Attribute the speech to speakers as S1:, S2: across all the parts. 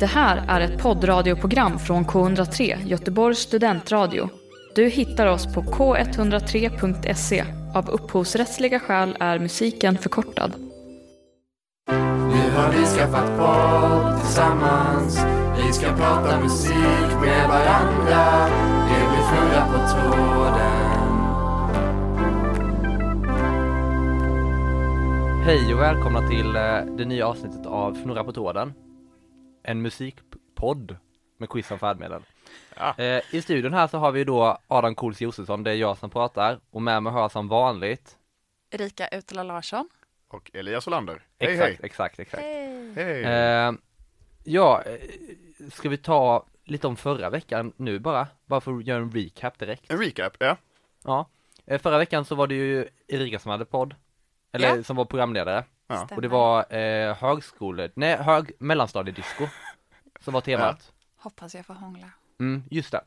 S1: Det här är ett poddradioprogram från K103, Göteborgs studentradio. Du hittar oss på k103.se. Av upphovsrättsliga skäl är musiken förkortad.
S2: Nu har vi skaffat podd tillsammans Vi ska prata musik med varandra Det blir fnurra på tråden
S3: Hej och välkomna till eh, det nya avsnittet av Fnurra på tråden En musikpodd med quiz om färdmedel eh, I studion här så har vi då Adam Cools Josefsson, det är jag som pratar och med mig har jag som vanligt
S4: Erika Utela Larsson.
S5: och Elias Olander. Hej
S3: Exakt,
S5: hej!
S3: exakt, exakt
S5: Hej!
S3: eh, Ja, eh, ska vi ta lite om förra veckan nu bara? Bara för att göra en recap direkt
S5: En recap, ja.
S3: Ja, eh, förra veckan så var det ju Erika som hade podd Eller
S4: Ja.
S3: som var programledare
S5: ja.
S3: och det var eh, högskole, nej hög, mellanstadiedisco Som var temat
S4: Hoppas jag får hångla.
S3: Mm, just det.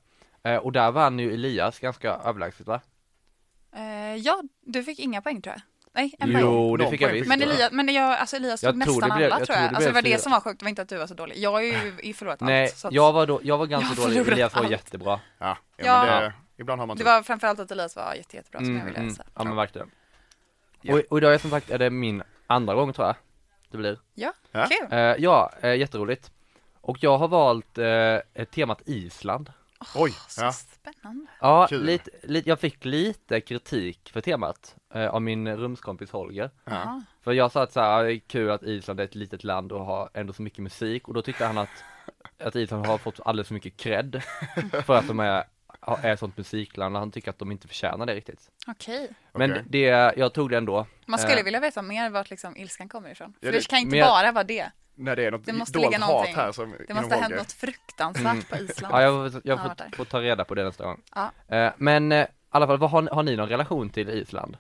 S3: Eh, och där vann ju Elias ganska överlägset va?
S4: Eh, ja, du fick inga poäng tror jag. Nej, en poäng.
S3: Jo, det
S5: Någon
S3: fick jag
S5: poäng
S3: visst.
S4: Men Elias, men jag, alltså Elias
S3: Jag
S4: tog
S3: tror
S4: nästan
S3: det blev-
S4: alla
S3: jag
S4: tror
S3: tror
S4: jag.
S3: det
S4: Alltså det
S3: blev
S4: var det
S3: fyra.
S4: som var sjukt, det var inte att du var så dålig. Jag har ju förlorat
S3: Nej,
S4: allt. så att-
S3: jag var, då, jag var ganska
S4: Jag har
S3: dålig,
S4: förlorat
S3: Elias var
S4: allt.
S3: jättebra.
S5: ja. ja,
S4: Ja.
S5: Men det, ibland har man
S4: Det
S5: tur.
S4: var framförallt att Elias var jätte, jättebra som jag
S3: Mm,
S4: ville
S3: mm.
S4: säga.
S3: Ja men verkligen.
S5: Ja.
S3: Och, och idag är som sagt är det min andra gång tror jag. Det blir.
S4: Ja,
S5: Ja.
S4: kul.
S3: Eh, ja, eh, jätteroligt. Och jag har valt eh, ett temat Island.
S5: typ- Oj!
S4: Så
S5: Ja.
S4: spännande.
S3: Ja,
S5: Kul.
S3: lite, lite, jag fick lite kritik för temat eh, av min rumskompis Holger.
S5: Ja.
S3: För jag sa att så här, det är kul att Island är ett litet land och har ändå så mycket musik och då tyckte han att, att Island har fått alldeles för mycket cred för att de är, har- är ett sånt musikland och han tycker att de inte förtjänar det riktigt.
S4: Okej.
S3: Men
S5: Okej.
S3: det, jag tog det ändå.
S4: Man skulle
S3: Eh.
S4: vilja veta mer vart liksom ilskan kommer ifrån. För
S5: Ja,
S4: det,
S5: det-
S4: kan inte
S3: men jag-
S4: bara vara det.
S5: När det är något
S4: Det måste
S5: dolt
S4: ligga
S5: hat
S4: någonting.
S5: här som
S4: Det
S5: inom
S4: måste ha hänt
S5: Holger.
S4: något fruktansvärt på Island.
S3: Ja, jag får, jag
S4: har varit
S3: får,
S4: där.
S3: får ta reda på det nästa gång.
S4: Ja.
S3: Eh, Men eh, i alla fall, vad har, ni- har ni någon relation till Island?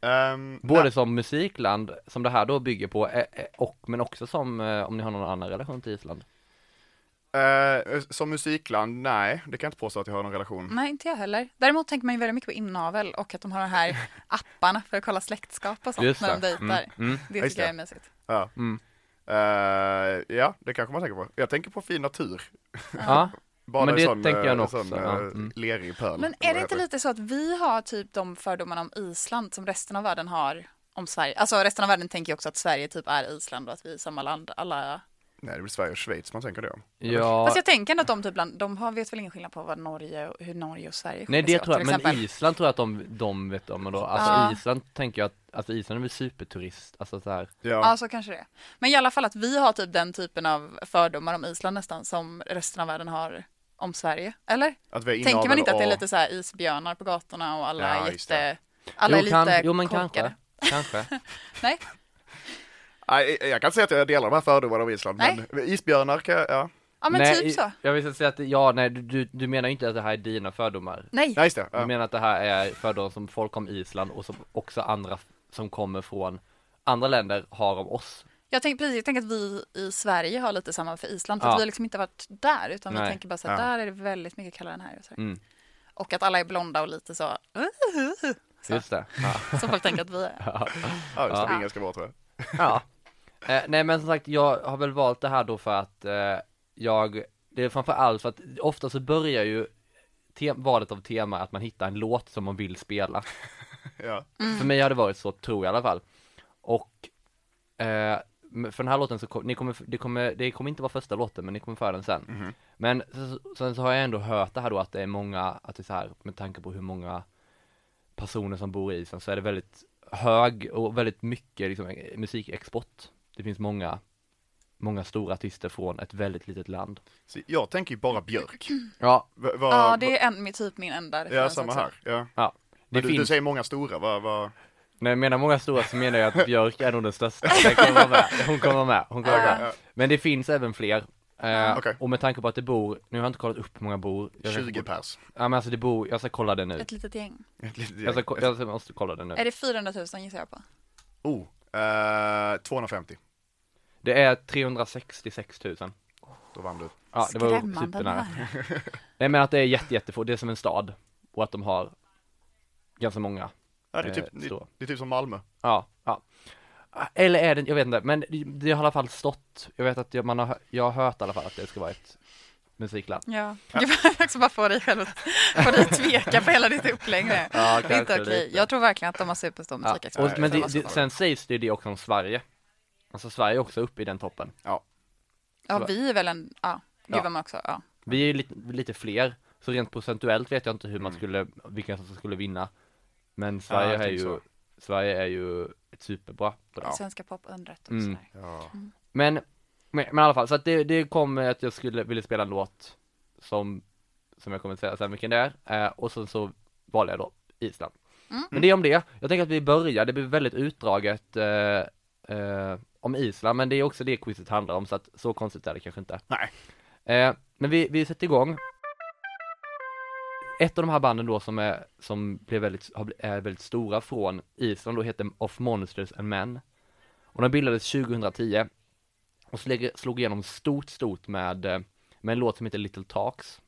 S5: Ehm,
S3: Både
S5: nej,
S3: som musikland, som det här då bygger på, eh, eh, och, men också som eh, om ni har någon annan relation till Island?
S5: eh, som musikland, nej, det kan jag inte påstå att jag har någon relation.
S4: Nej, inte jag heller. Däremot tänker man ju väldigt mycket på inavel och att de har de här apparna för att kolla släktskap och sånt
S3: Just
S4: när de
S3: det.
S4: dejtar.
S3: Mm, mm.
S4: Det
S5: Just
S4: tycker jag
S5: det.
S4: är mysigt.
S5: Ja. Eh, ja, det kanske man tänker på. Jag tänker på fin natur.
S3: Ja,
S5: Bara
S3: Men
S5: en
S3: det
S5: sån,
S3: tänker jag
S5: eh,
S3: nog
S5: en sån,
S3: också,
S5: eh,
S3: ja. Mm.
S5: lerig pöl.
S4: Men är det inte lite så att vi har typ de fördomarna om Island som resten av världen har om Sverige? Alltså resten av världen tänker ju också att Sverige typ är Island och att vi är samma land. Alla...
S5: Nej, det är väl Sverige och Schweiz man tänker det om.
S3: ja.
S4: Fast jag tänker ändå att de typ bland, de har, vet väl ingen skillnad på vad Norge och, hur Norge och Sverige
S3: Nej
S4: skiljer sig
S3: det
S4: åt,
S3: tror jag,
S4: till
S3: men
S4: exempel.
S3: Island tror jag att de, de vet om och då, alltså
S4: Ja.
S3: Island tänker jag att, alltså Island är väl superturist, alltså så här.
S4: Ja,
S5: Ja,
S4: så kanske det är. Men i alla fall att vi har typ den typen av fördomar om Island nästan som resten av världen har om Sverige. Eller?
S5: att vi är
S4: Tänker man
S5: inavel
S4: inte att det är
S5: och-
S4: lite så här isbjörnar på gatorna och alla
S5: Ja,
S4: är
S5: just
S4: jätte... Alla är lite
S3: jo men
S4: korkade.
S3: kanske, kanske.
S4: Nej,
S5: Nej, jag kan inte säga att jag delar de här fördomarna om Island,
S4: Nej.
S5: men isbjörnar kan jag, ja.
S4: ja men
S3: nej,
S4: typ så.
S3: Jag vill säga att, ja nej du, du, du menar ju inte att det här är dina fördomar.
S4: Nej,
S5: Ja, just det.
S3: Du
S5: Ja.
S3: menar att det här är fördomar som folk om Island och som också andra f- som kommer från andra länder har om oss.
S4: jag tänker precis, jag tänker att vi i Sverige har lite samma för Island, för
S3: Ja.
S4: att vi har liksom inte varit där, utan
S3: Nej.
S4: vi tänker bara så här,
S5: Ja.
S4: där är det väldigt mycket kallare än här. Och, så här.
S3: Mm.
S4: och att alla är blonda och lite så, Så.
S3: Just det. Ja.
S4: som folk tänker att vi är.
S5: Ja, just det.
S4: Ja.
S5: Ingen ska vara tror jag.
S3: Ja. Eh, nej men som sagt, jag har väl valt det här då för att eh, jag, det är framför allt för att ofta så börjar ju te- valet av tema att man hittar en låt som man vill spela.
S5: Ja.
S3: För mig har det varit så, tror jag i alla fall. Och eh, men för den här låten så kom, ni kommer, det, kommer, det kommer inte vara första låten men ni kommer föra den sen.
S5: Mhm.
S3: Men så- så- sen så har jag ändå hört det här då att det är många, att det är så här med tanke på hur många personer som bor i Island så är det väldigt hög och väldigt mycket liksom, eh, musikexport. Det finns många, många stora artister från ett väldigt litet land.
S5: Så jag tänker ju bara björk.
S3: Ja,
S5: Va, va,
S4: Ja, det är en, typ min enda
S5: ja,
S4: referens
S5: samma
S4: också.
S5: här. Ja.
S3: ja. Det
S5: Men du,
S3: finns,
S5: du säger många stora, vad, vad,
S3: när jag menar många stora så menar jag att Björk är nog den största. Den kommer vara med. Hon kommer vara med. Hon kommer vara med. Men det finns även fler. Eh,
S5: okej.
S3: Och med tanke på att det bor, nu har jag inte kollat upp hur många bor. Jag kanske
S5: 20
S3: bor-
S5: pers.
S3: Ja men alltså det bor, jag ska kolla det nu.
S4: Ett litet gäng.
S5: Ett litet gäng.
S3: Jag, ska, ko- jag ska- måste kolla det nu.
S4: Är det 400 000 gissar jag på?
S5: Oh, eh, 250.
S3: Det är 366 000.
S5: Då vann du.
S3: Ja, det var typ ju
S4: Skrämmande
S3: supernära.
S4: nära.
S3: Nej men att det är jätte, jättefå, det är som en stad. Och att de har ganska många.
S5: Ja, det, är
S3: Eh,
S5: typ, det,
S3: stora.
S5: det är typ som Malmö.
S3: Ja, ja. Eller är det, jag vet inte, men det- det har i alla fall stått, jag vet att jag, man har, jag har hört i alla fall att det ska vara ett musikland.
S4: Ja, jag vill också bara få dig själv att få dig att tveka på hela ditt upplägg nu.
S3: Ja,
S4: Det är inte okej. Jag tror verkligen att de har superstor
S3: ja.
S4: musikexpert.
S3: och, Men
S4: De
S3: det,
S4: har
S3: det,
S4: superstor.
S3: sen sägs det ju det också om Sverige. Alltså Sverige är också uppe i den toppen.
S4: Ja, vi är väl en, ja, gud
S3: Ja.
S4: vad man också, ja.
S3: Vi är ju lite, lite fler, så rent procentuellt vet jag inte hur man skulle, vilka som skulle vinna. Men Sverige
S5: jag
S3: är ju,
S5: tänker så.
S3: Sverige är ju superbra på det.
S4: Svenska popundret och
S3: Mm.
S4: sådär.
S5: Ja.
S3: Men, men, men i alla fall, så att det, det kom eh, att jag skulle vilja spela en låt som, som jag kommer att säga sen vilken det är, eh, och sen så valde jag då Island.
S4: Mm.
S3: Men det är om det, jag tänker att vi börjar, det blir väldigt utdraget eh, eh, om Island, men det är också det quizet handlar om, så att så konstigt är det kanske inte.
S5: Nej.
S3: Eh, men vi, vi sätter igång. Ett av de här banden då som är, som blev väldigt, har bl- är väldigt stora från Island då heter Of Monsters and Men. Och de bildades 2010 och slog, slog igenom stort, stort med, eh, med en låt som heter Little Talks.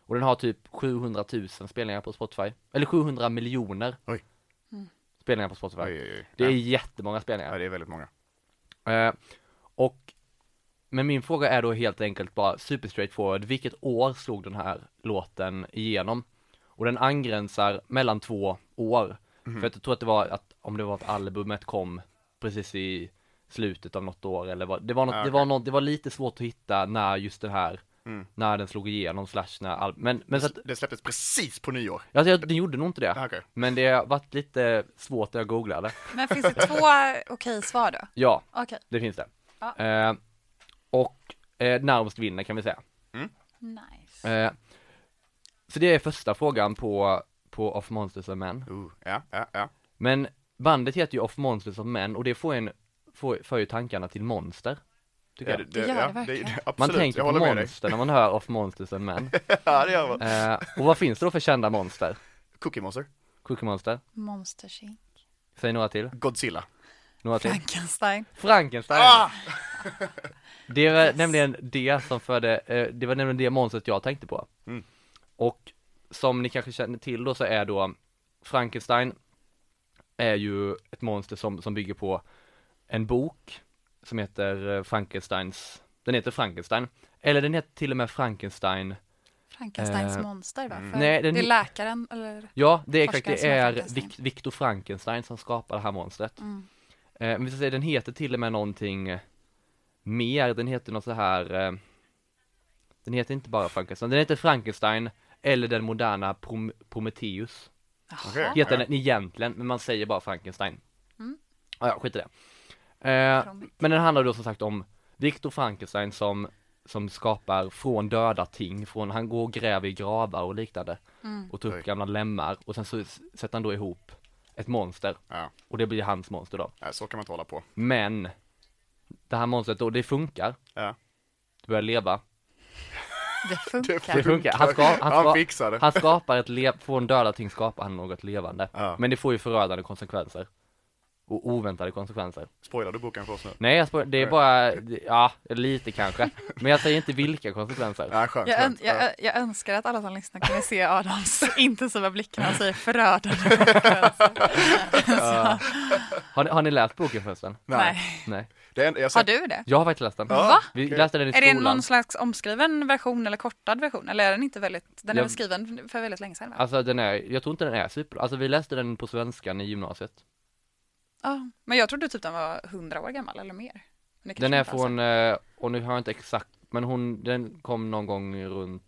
S3: Och den har typ 700 000 spelningar på Spotify, eller 700 miljoner
S5: Oj.
S4: Mm.
S3: spelningar på Spotify.
S5: Oj, oj, oj.
S3: Det är
S5: ja.
S3: jättemånga spelningar.
S5: ja, det är väldigt många.
S3: Eh, och, men min fråga är då helt enkelt bara super straightforward, vilket år slog den här låten igenom? Och den angränsar mellan två år.
S5: Mhm.
S3: För att jag tror att det var att, om det var att albumet kom precis i slutet av något år eller vad, det var något,
S5: Ah,
S3: det
S5: okej.
S3: var något, det var lite svårt att hitta när just den här,
S5: Mm.
S3: när den slog igenom slash när all, men, men så att,
S5: Det släpptes precis på nyår.
S3: alltså, jag- den gjorde nog inte det.
S5: Ah, okej.
S3: Men det har varit lite svårt när jag googlade.
S4: Men finns det två okej svar då?
S3: Ja.
S4: Okej.
S3: Det finns det.
S4: Ja.
S3: Eh, och eh, närmast vinner kan vi säga.
S4: Nice.
S3: Eh, så det är första frågan på, på Off Monsters of Men.
S5: Ooh, Oh, ja, ja, ja.
S3: Men bandet heter ju Off Monsters of Men och det får en, får, för ju tankarna till monster. Tycker
S5: ja,
S3: jag.
S4: Det gör det
S5: det,
S4: verkligen.
S5: absolut,
S3: Man
S5: jag
S3: tänker
S5: håller
S3: på
S5: med dig.
S3: monster när man hör Off Monsters of Men.
S5: Ja, det gör man.
S3: Eh, och vad finns det då för kända monster?
S5: Cookie Monster,
S3: Cookie Monster?
S4: Monster Inc.
S3: Säg några till.
S5: Godzilla.
S3: Några till.
S4: Frankenstein.
S3: Frankenstein!
S5: Ah!
S3: Det var nämligen det som förde, eh, det var nämligen det monstret jag tänkte på.
S5: Mm.
S3: Och som ni kanske känner till då så är då Frankenstein är ju ett monster som, som bygger på en bok som heter eh, Frankensteins, den heter Frankenstein, eller den heter till och med Frankenstein,
S4: Frankensteins
S3: Eh,
S4: monster va? För
S3: Nej, den-
S4: Det är läkaren eller?
S3: ja det är exakt,
S4: Forskaren
S3: det
S4: som är
S3: är
S4: Frankenstein.
S3: Vic- Victor Frankenstein som skapar det här monstret.
S4: Mm.
S3: Eh, men vi ska säga, den heter till och med någonting eh, mer, den heter något så här eh, Den heter inte bara Frankenstein, den heter Frankenstein eller den moderna Prom- Prometheus
S4: Jaha.
S5: Okej.
S3: Heter den egentligen, men man säger bara Frankenstein
S4: Mm.
S3: ah, Ja, skit i det eh,
S4: Prometheus.
S3: Men den handlar då som sagt om Victor Frankenstein som som skapar från döda ting, från, han går och gräver i gravar och liknande
S4: Mm.
S3: och tar
S5: Oj.
S3: upp gamla lemmar och sen så s- sätter han då ihop ett monster
S5: Ja,
S3: och det blir hans monster då
S5: nej, så kan man inte hålla på.
S3: men det här monstret då, det funkar.
S5: Ja.
S3: Det börjar leva.
S4: Det
S5: Det
S4: funkar.
S3: Det funkar. Han, ska, han, ska,
S5: Han
S3: han,
S5: fixar det.
S3: skapar ett lev, från döda ting skapar han något levande.
S5: Ja.
S3: Men det får ju förödande konsekvenser. Och oväntade konsekvenser.
S5: Spoilar du boken för oss nu?
S3: Nej, jag spår, det är
S5: Nej.
S3: bara, ja, lite kanske. Men jag säger inte vilka konsekvenser.
S5: Ja, skönt.
S4: Jag, ön-
S5: skönt.
S4: jag, ö- jag önskar att alla som lyssnar kunde se Adams intensiva blick när han säger förödande konsekvenser. Så,
S3: Har ni, har ni läst boken förresten?
S4: Nej.
S3: Nej.
S5: Det enda, jag
S4: Har
S5: sett,
S4: du det?
S3: Jag har faktiskt läst den.
S5: Ja,
S3: Vi
S5: okej.
S3: läste den i
S4: Är
S3: skolan.
S4: det någon slags omskriven version eller kortad version? Eller är den inte väldigt, den är
S3: Jag-
S4: väl skriven för väldigt länge sedan? Va?
S3: Alltså den är, jag tror inte den är super, alltså vi läste den på svenskan i gymnasiet.
S4: Ja. Men jag trodde typ den var hundra år gammal eller mer. Men det kanske
S3: Den är
S4: inte alls
S3: från, eh, och nu har jag inte exakt, men hon, den kom någon gång runt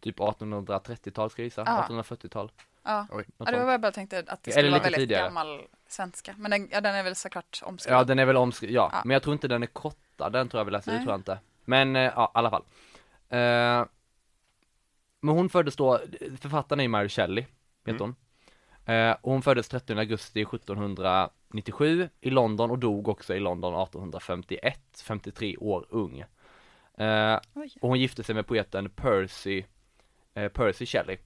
S3: typ 1830-tal ska jag gissa,
S4: Ja.
S3: 1840-tal.
S4: Ja.
S5: Oj.
S4: ja, det var vad jag bara tänkte att det
S3: Eller
S4: skulle vara
S3: lite
S4: väldigt
S3: tidigare.
S4: gammal svenska. Men den, ja, den är väl såklart omskriven.
S3: Ja, den är väl omskriven, ja.
S4: Ja.
S3: men jag tror inte den är kortad, den tror jag vi läste, det
S4: Nej.
S3: tror jag inte. Men, eh, ja, i alla fall. Eh, men hon föddes då, författaren är ju Mary Shelley, heter hon. Eh, och hon föddes 13 augusti 1797 i London och dog också i London 1851, 53 år ung. Eh,
S4: Oj.
S3: Och hon gifte sig med poeten Percy, eh, Percy Shelley.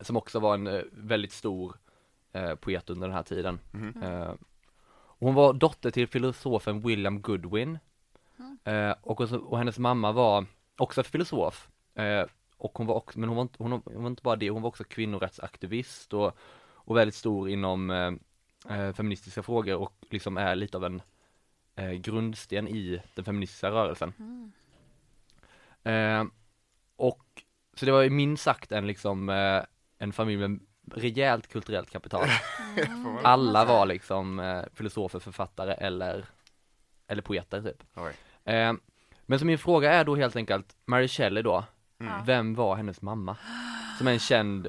S3: Som också var en eh, väldigt stor eh, poet under den här tiden.
S4: Mm.
S3: Eh, och hon var dotter till filosofen William Goodwin. Eh, och, hon- och hennes mamma var också filosof. Eh, och hon var också, men hon var, inte, hon, var- hon var inte bara det, hon var också kvinnorättsaktivist och, och väldigt stor inom eh, eh, feministiska frågor och liksom är lite av en eh, grundsten i den feministiska rörelsen. Eh, och så det var ju minst sagt en liksom eh, en familj med rejält kulturellt kapital.
S5: Får man-
S3: Alla var liksom eh, filosofer, författare eller, eller poeter typ.
S5: Oj.
S3: Eh, men så min fråga är då helt enkelt, Mary Shelley då, vem var hennes mamma? Som är en känd,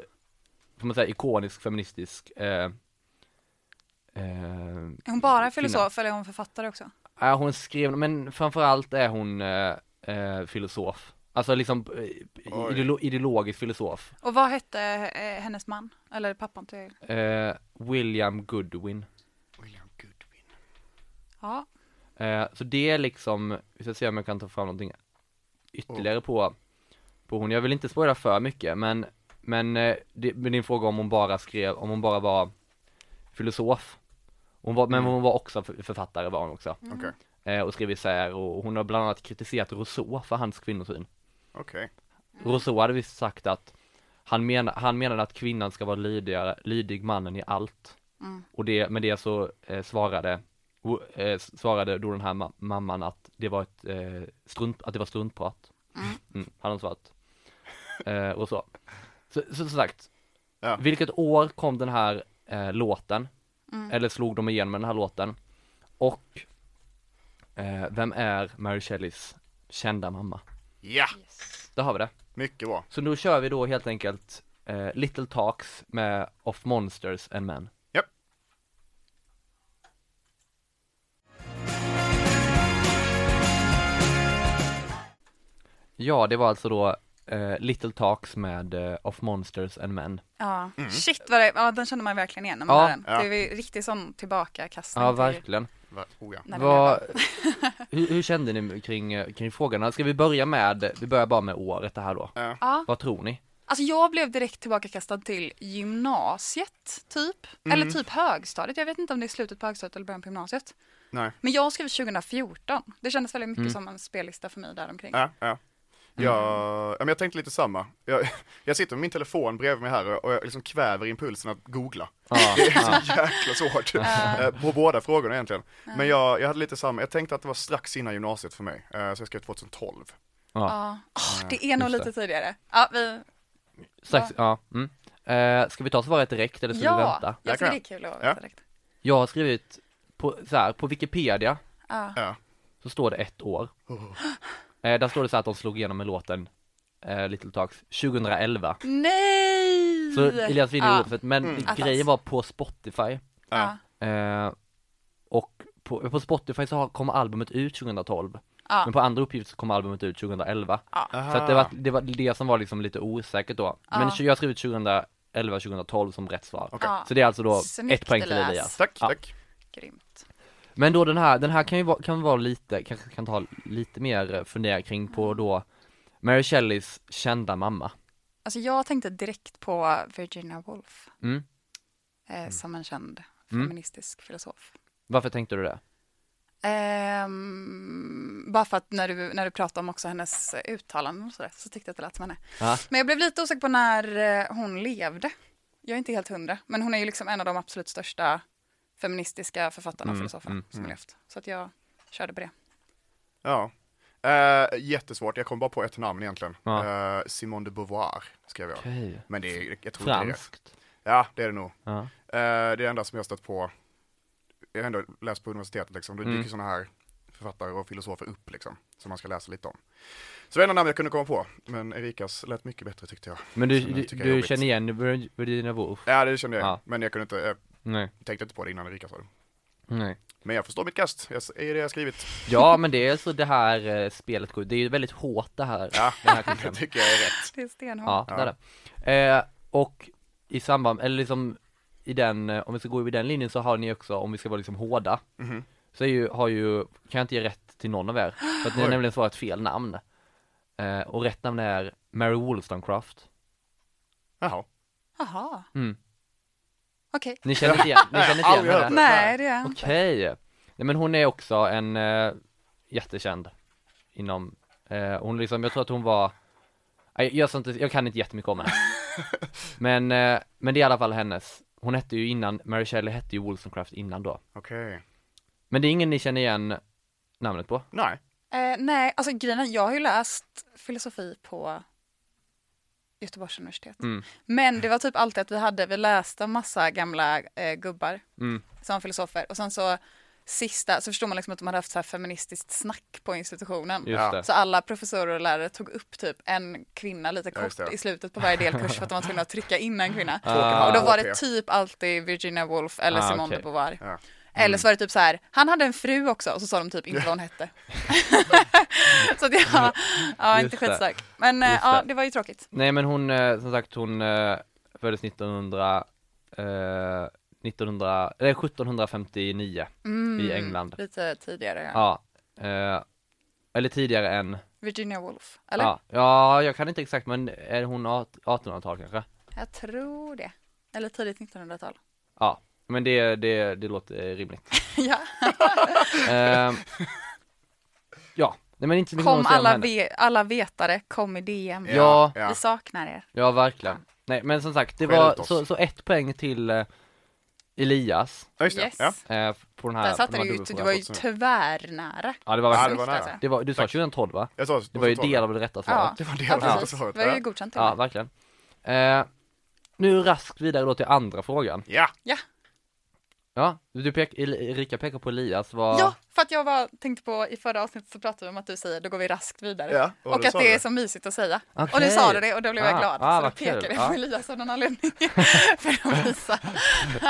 S3: får man säga, ikonisk feministisk eh, eh,
S4: Är hon bara filosof eller är hon författare också?
S3: ja, hon skrev, men framförallt är hon eh, eh, filosof. Alltså liksom eh,
S5: Oj.
S3: ideolo- ideologisk filosof.
S4: Och vad hette eh, hennes man? Eller pappan till?
S3: Eh, William Goodwin.
S5: William Goodwin.
S4: Ja.
S3: Eh, så det är liksom, vi ska se om jag kan ta fram någonting ytterligare på, på hon. Jag vill inte spoila för mycket, men, men eh, det, med din fråga om hon bara skrev, om hon bara var filosof. Hon var, men hon var också för- författare var hon också.
S4: Mm.
S5: Okej,
S3: Eh, och skrev isär och hon har bland annat kritiserat Rousseau för hans kvinnosyn.
S5: okej.
S3: Rousseau hade visst sagt att han, mena, han menade att kvinnan ska vara lydigare, lydig mannen i allt. Och det, med det så eh, svarade, o- eh, s- svarade då den här ma- mamman att det var ett eh, strunt, att det var struntprat. Mm, hade hon svarat. Eh, och så. Så, så som sagt,
S5: Ja.
S3: vilket år kom den här eh, låten? Eller slog de igenom med den här låten? Och eh, vem är Mary Shelleys kända mamma?
S5: Ja,
S3: Där har vi det.
S5: mycket bra.
S3: Så nu kör vi då helt enkelt eh, Little Talks med Of Monsters and Men.
S5: Japp.
S3: Ja, det var alltså då eh, Little Talks med eh, Of Monsters and Men.
S4: ja. Shit vad det, ja den kände man verkligen igen när man
S3: Ja.
S4: hör den.
S5: Ja.
S4: Det är ju riktigt sån tillbakakastning.
S3: Ja,
S4: till-
S3: verkligen.
S5: Va- Oh, ja.
S4: när den blev
S3: Vad, hur, hur kände ni kring, eh, kring frågorna? Ska vi börja med, vi börjar bara med året det här då.
S5: Ja.
S4: Ja.
S3: Vad tror ni?
S4: Alltså jag blev direkt tillbakakastad till gymnasiet, typ.
S3: Mm.
S4: Eller typ högstadiet. Jag vet inte om det är slutet på högstadiet eller början på gymnasiet.
S5: Nej.
S4: Men jag skrev 2014. Det kändes väldigt
S3: Mm.
S4: mycket som en spellista för mig däromkring.
S5: Ja, ja. Jag, ja, men jag tänkte lite samma. Jag, jag sitter med min telefon bredvid mig här och- och jag liksom kväver impulsen att googla.
S3: Ja,
S5: Det är så jäkla svårt. Eh, På båda frågorna egentligen. Men jag, jag hade lite samma, jag tänkte att det var strax innan gymnasiet för mig. Eh, Så jag skrev 2012.
S3: ja.
S4: Ja. Åh, det är nog
S3: just
S4: lite tidigare. Ja, vi...
S3: Strax, ja. Mm. Eh, ska vi ta svaret direkt eller ska vi
S4: ja.
S3: vänta?
S4: Jag
S5: Där kan
S4: tycker det är
S5: jag.
S4: kul att
S5: Ja.
S4: veta direkt.
S3: Jag har skrivit på, så här, på Wikipedia
S4: Ja.
S5: Ja.
S3: så står det ett år.
S4: Oh.
S3: Eh, där står det så här att de slog igenom med låten eh, Little Talks 2011.
S4: Nej!
S3: Så Elias vinner
S4: Ja. Mm.
S3: ja. ordet, men grejen var på Spotify.
S4: Ja.
S3: Eh, och på, på Spotify så har- kom albumet ut 2012.
S4: Ja. Ah.
S3: Men på andra uppgifter så kom albumet ut 2011. Så att
S5: Aha.
S3: det, var, det var det som var liksom lite osäkert då. Men jag har skrivit 2011-2012 som rätt svar.
S4: Ja.
S3: Så det är alltså då
S4: Snyggt,
S3: ett poäng till
S4: Elias.
S3: Elias.
S5: Tack,
S3: Ja.
S5: tack.
S4: Grymt.
S3: Men då den här, den här kan ju vara, kan vara lite, kanske kan ta lite mer fundera kring på då Mary Shelleys kända mamma.
S4: Alltså jag tänkte direkt på Virginia Woolf.
S3: Mm.
S4: Eh, som en känd feministisk filosof.
S3: Varför tänkte du det?
S4: Ehm, bara för att när du, när du pratade om också hennes eh, uttalanden och sådär så tyckte jag att det lät som henne.
S3: Ja.
S4: Men jag blev lite osäker på när eh, hon levde. Jag är inte helt hundra, men hon är ju liksom en av de absolut största feministiska författarna och
S3: Mm,
S4: filosoferna som har levt. Så att jag körde på det.
S5: Ja. Eh, jättesvårt, jag kom bara på ett namn egentligen.
S3: Ja.
S5: Eh, Simone de Beauvoir skrev jag.
S3: Okej.
S5: Men det är, jag tror inte det är rätt.
S3: Franskt.
S5: Ja, det är det nog.
S3: Ja.
S5: Eh, det är enda som jag stött på, jag har ändå läst på universitetet liksom, då dyker mm. sådana här författare och filosofer upp liksom, som man ska läsa lite om. Så det var enda namn jag kunde komma på, men Erikas lät mycket bättre tyckte jag.
S3: Men du,
S5: Som jag
S3: du,
S5: tycker är jobbigt.
S3: känner igen Vir- Virginia Woolf?
S5: Ja, det kände jag,
S3: Ja.
S5: men jag kunde inte, jag
S3: Nej.
S5: tänkte inte på det innan Erika sa det.
S3: Nej.
S5: Men jag förstår mitt kast, jag är det jag har skrivit.
S3: Ja men det är så det här eh, spelet går, det är ju väldigt hårt det här.
S5: Ja,
S3: Den här
S5: det
S3: quizen.
S5: tycker jag är rätt.
S4: Det är stenhårt.
S3: Ja, det är det. Eh, och i samband, eller liksom i den, eh, om vi ska gå i den linjen så har ni också, om vi ska vara liksom hårda,
S5: Mhm.
S3: så är ju, har ju, kan jag inte ge rätt till någon av er, för att ni har
S5: Oj.
S3: nämligen svarat fel namn. Eh, och rätt namn är Mary Wollstonecraft.
S5: Jaha.
S4: Jaha.
S3: Mm.
S4: Okej.
S3: Ni känner inte igen, ni känner inte igen
S5: Aldrig
S3: henne?
S5: hört
S3: Nej.
S4: Nej, det är
S3: Okej. Nej men hon är också en eh, jättekänd inom, eh, hon liksom, jag tror att hon var, nej, jag, jag, jag kan inte jättemycket om henne. Men, eh, men det är i alla fall hennes Hon hette ju innan, Mary Shelley hette ju Wollstonecraft innan då.
S5: Okej.
S3: Men det är ingen ni känner igen namnet på?
S5: Nej.
S4: Eh, nej, alltså grejen är, jag har ju läst filosofi på Göteborgs universitet.
S3: Mm.
S4: Men det var typ alltid att vi hade, vi läste massa gamla eh, gubbar
S3: Mm.
S4: som var filosofer och sen så sista så förstod man liksom att de hade haft så här feministiskt snack på institutionen.
S3: Just
S5: Ja.
S3: det.
S4: Så alla professorer och lärare tog upp typ en kvinna lite
S5: Ja, just
S4: kort
S5: det.
S4: i slutet på varje delkurs för att de var tvungna att trycka in en kvinna.
S3: Ah.
S4: Och då var det
S5: Okej.
S4: typ alltid Virginia Woolf eller
S3: Ah,
S4: Simone
S3: okej. Mm.
S4: de Beauvoir.
S5: Ja.
S4: Eller så var det typ så här, han hade en fru också och så sa de typ inte vad hon hette. så det var, ja
S3: Just
S4: inte
S3: det.
S4: skitstark. Men eh,
S3: Just
S4: ja,
S3: det.
S4: det var ju tråkigt.
S3: Nej men hon, eh, som sagt hon eh, föddes 1900, eh, 1900, eller 1759 i England.
S4: Lite tidigare, ja.
S3: Mm. Ja. Eh, eller tidigare än,
S4: Virginia Woolf, eller?
S3: Ja, ja, jag kan inte exakt men är hon art- 1800-tal kanske?
S4: Jag tror det. Eller tidigt 1900-tal.
S3: Ja, men det, det, det låter eh, rimligt.
S4: ja.
S3: Ehm, ja, nej men inte
S4: Kom
S3: att säga om
S4: alla,
S3: henne.
S4: ve- alla vetare, kom i DM.
S3: Ja.
S5: ja.
S4: Vi saknar er.
S3: Ja, verkligen. Nej, men som sagt, det
S5: Skäll
S3: var
S5: ut oss.
S3: så, så ett poäng till eh, Elias
S5: Ja, just det.
S4: Yes.
S5: Ja.
S3: eh, på den här.
S4: Där satte
S3: de här
S4: du ju,
S3: dubbelfrågorna.
S4: du var ju tvärnära. alltså.
S3: Ja, det var
S5: Ja,
S3: verkligen.
S5: det var nära.
S3: Det var, du sa 2012 va?
S5: Jag sa
S3: Det var ju del av det rätta svaret.
S5: Det var
S4: Ja,
S5: del av det
S4: precis.
S5: svaret.
S4: Det var ju
S5: Ja.
S4: godkänt. till
S3: Ja,
S4: och med.
S3: verkligen. Eh, nu raskt vidare då till andra frågan.
S5: Ja.
S3: Ja, du pek, El- Erika pekar på Elias, vad...
S4: Ja, för att jag var, tänkte på i förra avsnittet så pratade vi om att du säger då går vi raskt vidare.
S5: Ja, och
S4: och
S5: då
S4: att
S5: sa
S4: det
S5: du
S4: är
S5: det.
S4: så mysigt att säga.
S3: Okej.
S4: Och nu sa du det och då blev
S3: Ah,
S4: jag glad.
S3: ah,
S4: så då
S3: vad kul.
S4: pekade jag
S3: Ja.
S4: på Elias av någon anledning. för att visa.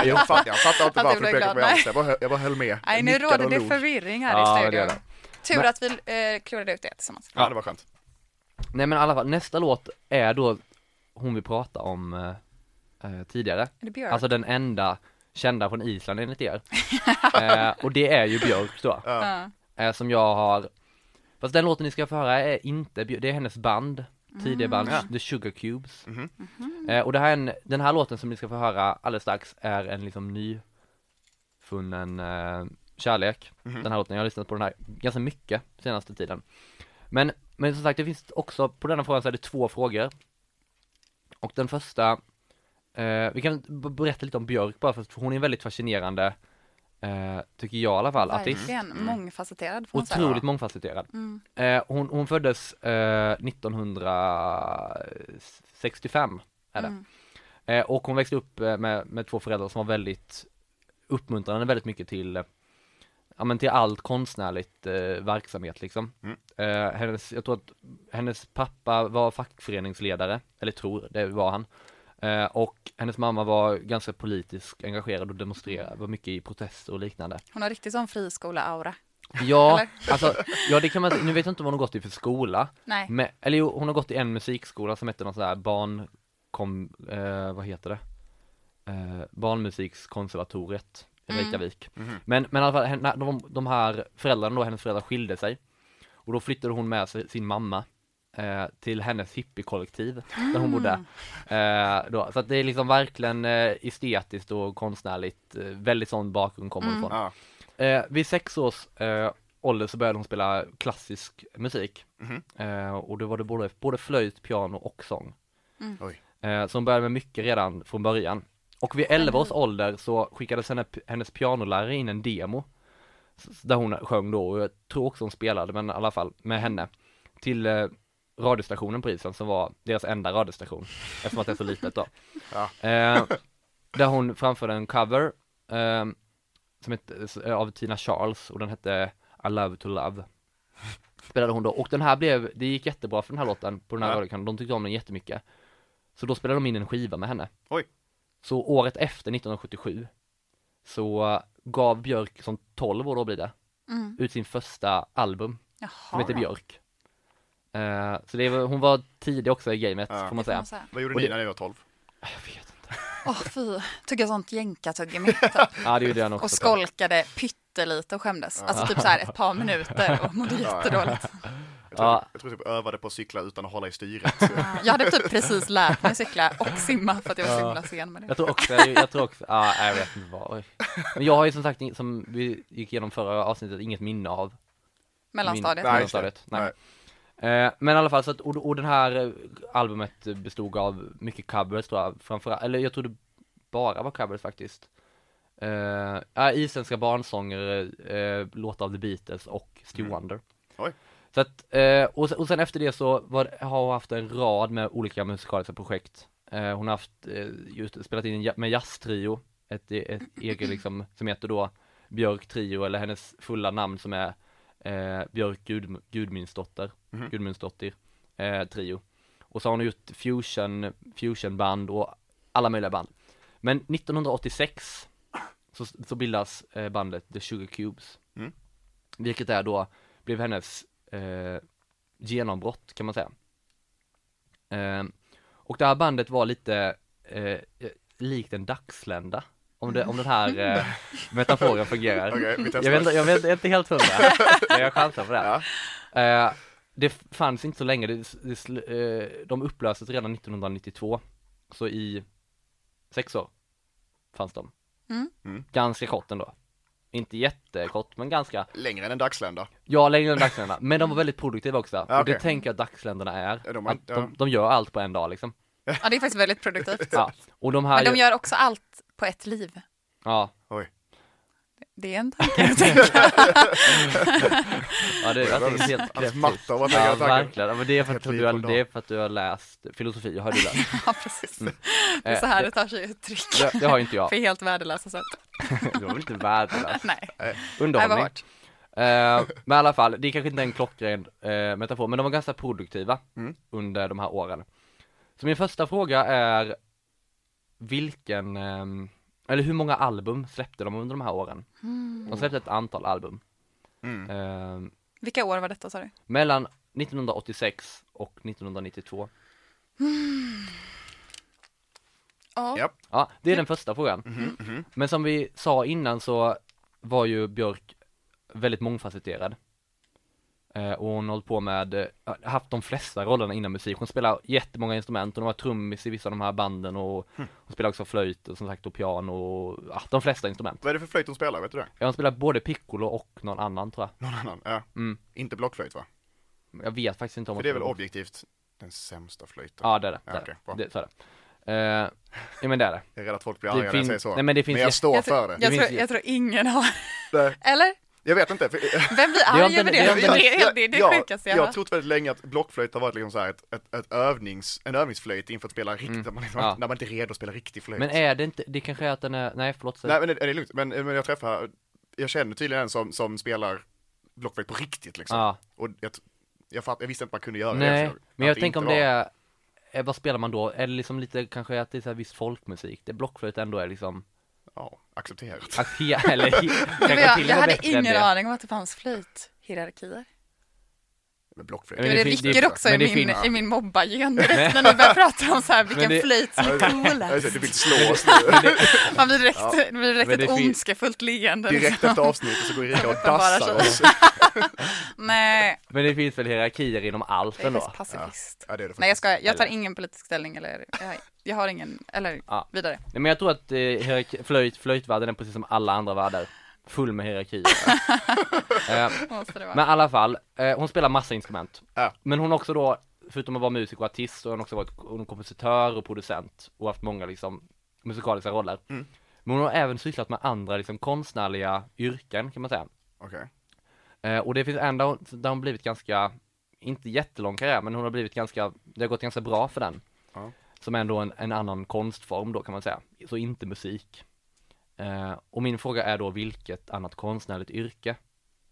S5: Jag fattar, jag fattar inte
S4: Att
S5: varför
S4: du
S5: du
S4: blev
S5: pekade på
S4: glad,
S5: mig
S4: nej.
S5: alls. Jag bara, hö- jag bara höll med.
S4: Nej, nu
S5: Nickade
S4: råder
S5: och
S4: det
S5: log.
S4: förvirring här
S3: Ja, det
S4: i studion.
S3: gör det.
S4: Tur
S3: Men-
S4: att vi eh, klurade ut det tillsammans.
S5: Ja, det var skönt.
S3: Nej men i alla fall, nästa låt är då hon vi pratade om eh, eh, tidigare.
S4: Är det Björk?
S3: Alltså den enda kända från Island enligt er. eh, och det är ju Björk då.
S4: Ja.
S3: Eh, som jag har, fast den låten ni ska få höra är inte Björk, det är hennes band, tidiga band, The Sugar Cubes. Eh, och det här är en, den här låten som ni ska få höra alldeles strax är en liksom nyfunnen eh, kärlek. Den här låten, jag har lyssnat på den här ganska mycket senaste tiden. Men, men som sagt, det finns också, på denna frågan så är det två frågor. Och den första, eh, vi kan b- berätta lite om Björk bara, för hon är en väldigt fascinerande, eh, tycker jag i alla fall, artist. Mm.
S4: Verkligen Mm. mångfacetterad får man säga.
S3: Otroligt mångfacetterad. Eh, hon, hon föddes eh, 1965, är det. Eh, och hon växte upp eh, med, med två föräldrar som var väldigt uppmuntrande väldigt mycket till, eh, ja men till allt konstnärligt eh, verksamhet liksom. Eh, hennes, jag tror att hennes pappa var fackföreningsledare, eller tror det var han. Eh, och hennes mamma var ganska politiskt engagerad och demonstrerade, var mycket i protester och liknande.
S4: Hon har riktigt sån friskola-aura.
S3: Ja,
S4: Eller?
S3: alltså, ja det kan man, nu vet jag inte vad hon har gått i för skola.
S4: Nej.
S3: Men, eller jo, hon har gått i en musikskola som heter någon sån här barn, kom, eh, vad heter det? Eh, barnmusikskonservatoriet i
S4: Mm.
S3: Reykjavik. Men, men i alla fall, henne, de, de här föräldrarna då, hennes föräldrar skilde sig. Och då flyttade hon med sig, sin mamma eh, till hennes hippiekollektiv där hon bodde.
S4: Mm.
S3: Eh, då. Så att det är liksom verkligen eh, estetiskt och konstnärligt, eh, väldigt sån bakgrund kommer hon
S4: Mm.
S3: ifrån.
S5: Ja.
S3: Eh, vid sex års eh, ålder så började hon spela klassisk musik. Eh, och då var det både, både flöjt, piano och sång.
S5: Oj.
S3: Eh, så hon började med mycket redan från början. Och vid 11 års ålder så skickades henne, hennes pianolärare in en demo. s- Där hon sjöng då, och jag tror också hon spelade, men i alla fall med henne. Till eh, radiostationen på Island som var deras enda radiostation. Eftersom att det är så litet då. Eh, där hon framförde en cover. ehm, som hette, av Tina Charles och den hette I Love To Love Spelade hon då, och den här blev, det gick jättebra för den här låten på den här
S5: Ja.
S3: radiokanalen, de tyckte om den jättemycket Så då spelade de in en skiva med henne
S5: Oj.
S3: Så året efter, 1977 Så eh, gav Björk, som 12 år då blir det
S4: Mm.
S3: Ut sin första album, som
S4: Jaha.
S3: heter Björk Eh, Så det var, hon var tidig också i gamet,
S5: Ja.
S3: får man
S4: Får
S3: säga
S4: man säga.
S5: Vad gjorde
S3: Och
S5: ni
S3: det-
S5: när ni var 12?
S3: Jag vet inte
S4: Åh fy, tugga sånt jänkartuggummi typ.
S3: Ja det gjorde jag nog
S4: och
S3: också
S4: skolkade pyttelite och skämdes. Alltså typ så här ett par minuter och mådde jättedåligt.
S5: Jag tror,
S3: Ja.
S5: jag tror typ jag övade på att cykla utan att hålla i styret.
S4: Jag hade typ precis lärt mig cykla och simma för att jag var så himla sen med det.
S3: Jag tror också, jag tror också, ja jag vet inte vad. Oj. Men jag har ju som sagt, ing- som vi gick igenom förra avsnittet, inget minne av
S4: Mellanstadiet.
S3: min,
S5: Nej.
S3: mellanstadiet. Nej. Eh, men i alla fall så att, och, och den här eh, albumet bestod av mycket covers tror jag, framförallt, eller jag tror det bara vocabulary faktiskt. Eh, ja, isländska barnsånger, eh, låtar av The Beatles och Stevie Wonder.
S5: Oj.
S3: Så att, eh, och, sen, och sen efter det så var, det- har hon haft en rad med olika musikaliska projekt. Eh, hon har haft, eh, just spelat in en ja- med jazztrio, ett, ett eget liksom, som heter då Björk Trio, eller hennes fulla namn som är eh, Björk Gud, Gudmundsdotter, Gudmundsdottir eh, Trio. Och så har hon gjort fusion, fusionband och alla möjliga band. Men 1986 så, så bildas eh, bandet The Sugar Cubes.
S5: Mm.
S3: Vilket är då, blev hennes eh, genombrott kan man säga. Eh, och det här bandet var lite eh, eh, likt en dagslända. Om, det, om den här eh, metaforen fungerar.
S5: Okej, vi testar.
S3: jag, vet, inte- jag, vet, jag är inte helt hundra, men jag chansar på det. här. Eh, det fanns inte så länge, det, det, sl- eh, de upplöstes redan 1992. Så i sex år fanns de.
S4: Mm.
S5: Mm.
S3: Ganska kort ändå. Inte jättekort, men ganska.
S5: Längre än en dagslända.
S3: Ja, längre än dagsländerna. Men de var väldigt produktiva också.
S5: Ja,
S3: Och det
S5: okej.
S3: tänker jag att dagsländerna är.
S5: Ja, de-
S3: att
S5: ja.
S3: de, de gör allt på en dag liksom.
S4: Ja, det är faktiskt väldigt produktivt.
S3: Ja. Och de här,
S4: Men de gör också allt på ett liv.
S3: ja,
S5: Oj.
S4: Det är en tanke att tänka.
S3: ja det, jag tänker helt
S5: Alltså, Hans
S3: kreativt.
S5: matta var
S3: Ja,
S5: längre tanken.
S3: verkligen. Ja, men det är för att
S5: Helt liv
S3: du har,
S5: på en dag.
S3: det är för att du har läst filosofi, har du läst?
S4: Ja, precis. Det är så här det tar sig uttryck.
S3: Mm. Eh, Det, det har ju inte jag.
S4: För helt värdelösa sätt.
S3: Det var väl inte värdelöst?
S4: Nej, det var
S3: Underhållning.
S4: hårt.
S3: Eh, men i alla fall, det är kanske inte är en klockren eh, metafor, men de var ganska produktiva
S5: Mm.
S3: under de här åren. Så min första fråga är vilken, ehm, eller hur många album släppte de under de här åren? De släppte ett antal album.
S5: Mm.
S3: Ehm,
S4: Vilka år var detta sa du?
S3: mellan 1986 och 1992.
S4: Ja.
S5: Ja.
S3: Ja,
S5: Mm.
S3: det är den första frågan.
S5: Mhm,
S3: Men som vi sa innan så var ju Björk väldigt mångfacetterad. Eh, och hon har hållit på med, eh, haft de flesta rollerna inom musik. Hon spelar jättemånga instrument, hon har varit trummis i vissa av de här banden och
S5: Mm.
S3: hon spelar också flöjt och som sagt och piano och ja, de flesta instrument.
S5: Vad är det för flöjt hon spelar, vet du det?
S3: Ja, Hon spelar både piccolo och någon annan tror jag.
S5: Någon annan? Ja.
S3: Mm.
S5: Inte blockflöjt va?
S3: Jag vet faktiskt inte om
S5: För
S3: hon
S5: det är väl
S3: spelar-
S5: objektivt den sämsta flöjten?
S3: Ja det är det,
S5: Ja,
S3: det, är
S5: okej, bra.
S3: det. det, så är det. Eh, ja men det är det.
S5: Jag är rädd att folk blir
S3: Det
S5: arga när jag
S3: fin-
S5: säger så.
S3: Nej, men det finns
S5: jag
S3: jätte-
S5: står
S4: Jag,
S5: för
S4: tror,
S5: det.
S4: jag, tror,
S3: finns ju-
S4: jag tror ingen har...
S5: Nej,
S4: Eller?
S5: Jag vet inte. För...
S4: Vem blir
S3: har
S4: arg
S3: inte-
S4: över
S3: det
S4: det?
S3: har
S4: Det
S3: inte-
S4: är det, är det
S5: jag,
S4: sjukaste
S5: jag
S4: jag
S5: jag
S4: har
S5: har trott väldigt länge att blockflöjt har varit liksom så här ett, ett, ett övnings, en övningsflöjt inför att spela riktigt, när man liksom,
S3: Mm. Ja.
S5: när man inte är redo att spela riktig flöjt.
S3: Men är det inte, det kanske är att den är, nej förlåt. säg.
S5: Nej men det, det är lugnt, men, men jag träffar, jag känner tydligen en som, som spelar blockflöjt på riktigt liksom.
S3: Ja.
S5: Och jag, jag, fatt, jag visste inte man kunde göra det.
S3: Nej,
S5: så
S3: men jag
S5: att
S3: tänker om
S5: inte
S3: det
S5: var-
S3: är, eh, vad spelar man då? Är det liksom lite kanske att det är så här viss folkmusik? Det blockflöjt ändå är liksom,
S5: Ja, accepterat.
S3: att he, eller he, kanske
S4: jag,
S3: till och med
S4: jag hade
S3: bättre än
S4: ingen
S3: det.
S4: aning om att det fanns flöjthierarkier.
S5: Men
S3: Men
S5: blockflöjt.
S4: Men det,
S3: det fin-
S4: rycker
S3: det-
S4: också i
S3: men det
S4: min,
S3: finns-
S4: i min mobbargen direkt när ni börjar prata om så här, vilken
S3: Men det-
S4: flöjt som är
S5: Jag säger,
S4: coolast.
S5: du vill slå oss nu.
S4: Man blir direkt, det blir direkt
S3: Men det
S4: ett
S3: fin-
S4: ondskefullt leende.
S5: Direkt
S4: liksom.
S5: efter avsnittet så går Erika och
S4: Uppenbarar
S5: dassar
S4: sig.
S5: oss.
S4: Nej,
S3: Men det finns väl hierarkier inom allt
S4: jag är
S3: ändå?
S4: faktiskt pacifist.
S5: Ja, det är det
S4: Nej, jag
S5: faktiskt.
S4: ska, jag tar
S3: Eller-
S4: ingen politisk ställning eller, jag, har- jag har ingen, eller
S3: Ja.
S4: vidare.
S3: Nej men jag tror att eh, hierarki- flöjt, flöjtvärlden är precis som alla andra världar, full med hierarkier. eh,
S4: Måste det vara.
S3: men i alla fall, eh, hon spelar massa instrument.
S5: Ja.
S3: Men hon har också då, förutom att vara musiker och artist, så har hon också varit hon är kompositör och producent och haft många liksom musikaliska roller. Men hon har även sysslat med andra liksom konstnärliga yrken kan man säga.
S5: Okej.
S3: Eh, och det finns en där hon, där hon blivit ganska, inte jättelång karriär, men hon har blivit ganska, det har gått ganska bra för den.
S5: Ja.
S3: Som är ändå en, en annan konstform då kan man säga, så inte musik. Eh, och min fråga är då vilket annat konstnärligt yrke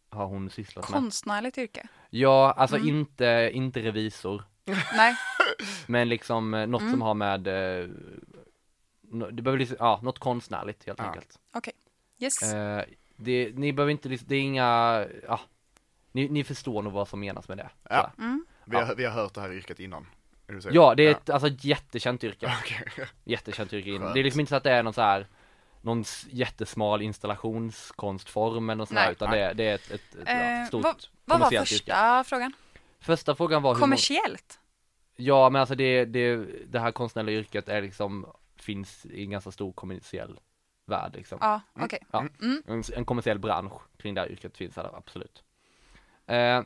S3: har hon sysslat med?
S4: Konstnärligt yrke?
S3: Ja, alltså inte, inte revisor,
S4: Nej,
S3: men liksom eh, något som har med, eh, nå- det behöver liksom, ja, något konstnärligt helt
S5: Ja.
S3: enkelt.
S4: okej. Yes.
S3: Eh, det, ni behöver inte, lis- det är inga, ja, ni, ni förstår nog vad som menas med det.
S5: Ja.
S3: tror jag.
S5: Vi, har, vi har hört det här yrket innan. Är du säker?
S3: Ja, det är ett alltså, ett jättekänt yrke.
S5: Okej.
S3: Jättekänt yrke.
S5: Skönt.
S3: Det är liksom inte så att det är någon så här någon s- jättesmal installationskonstform eller något sånt
S4: Nej.
S3: här, utan det är, det är ett, ett, ett ja,
S4: Eh,
S3: stort
S4: vad, vad var
S3: kommersiellt yrke.
S4: första frågan?
S3: Första frågan var hur många,
S4: Kommersiellt?
S3: Ja, men alltså det, det, det här konstnärliga yrket är liksom, finns i en ganska stor kommersiell värld liksom.
S4: Ja, okej.
S3: Ja,
S5: Mm.
S4: Mm.
S3: en, en kommersiell bransch kring det här yrket finns här, absolut. Eh,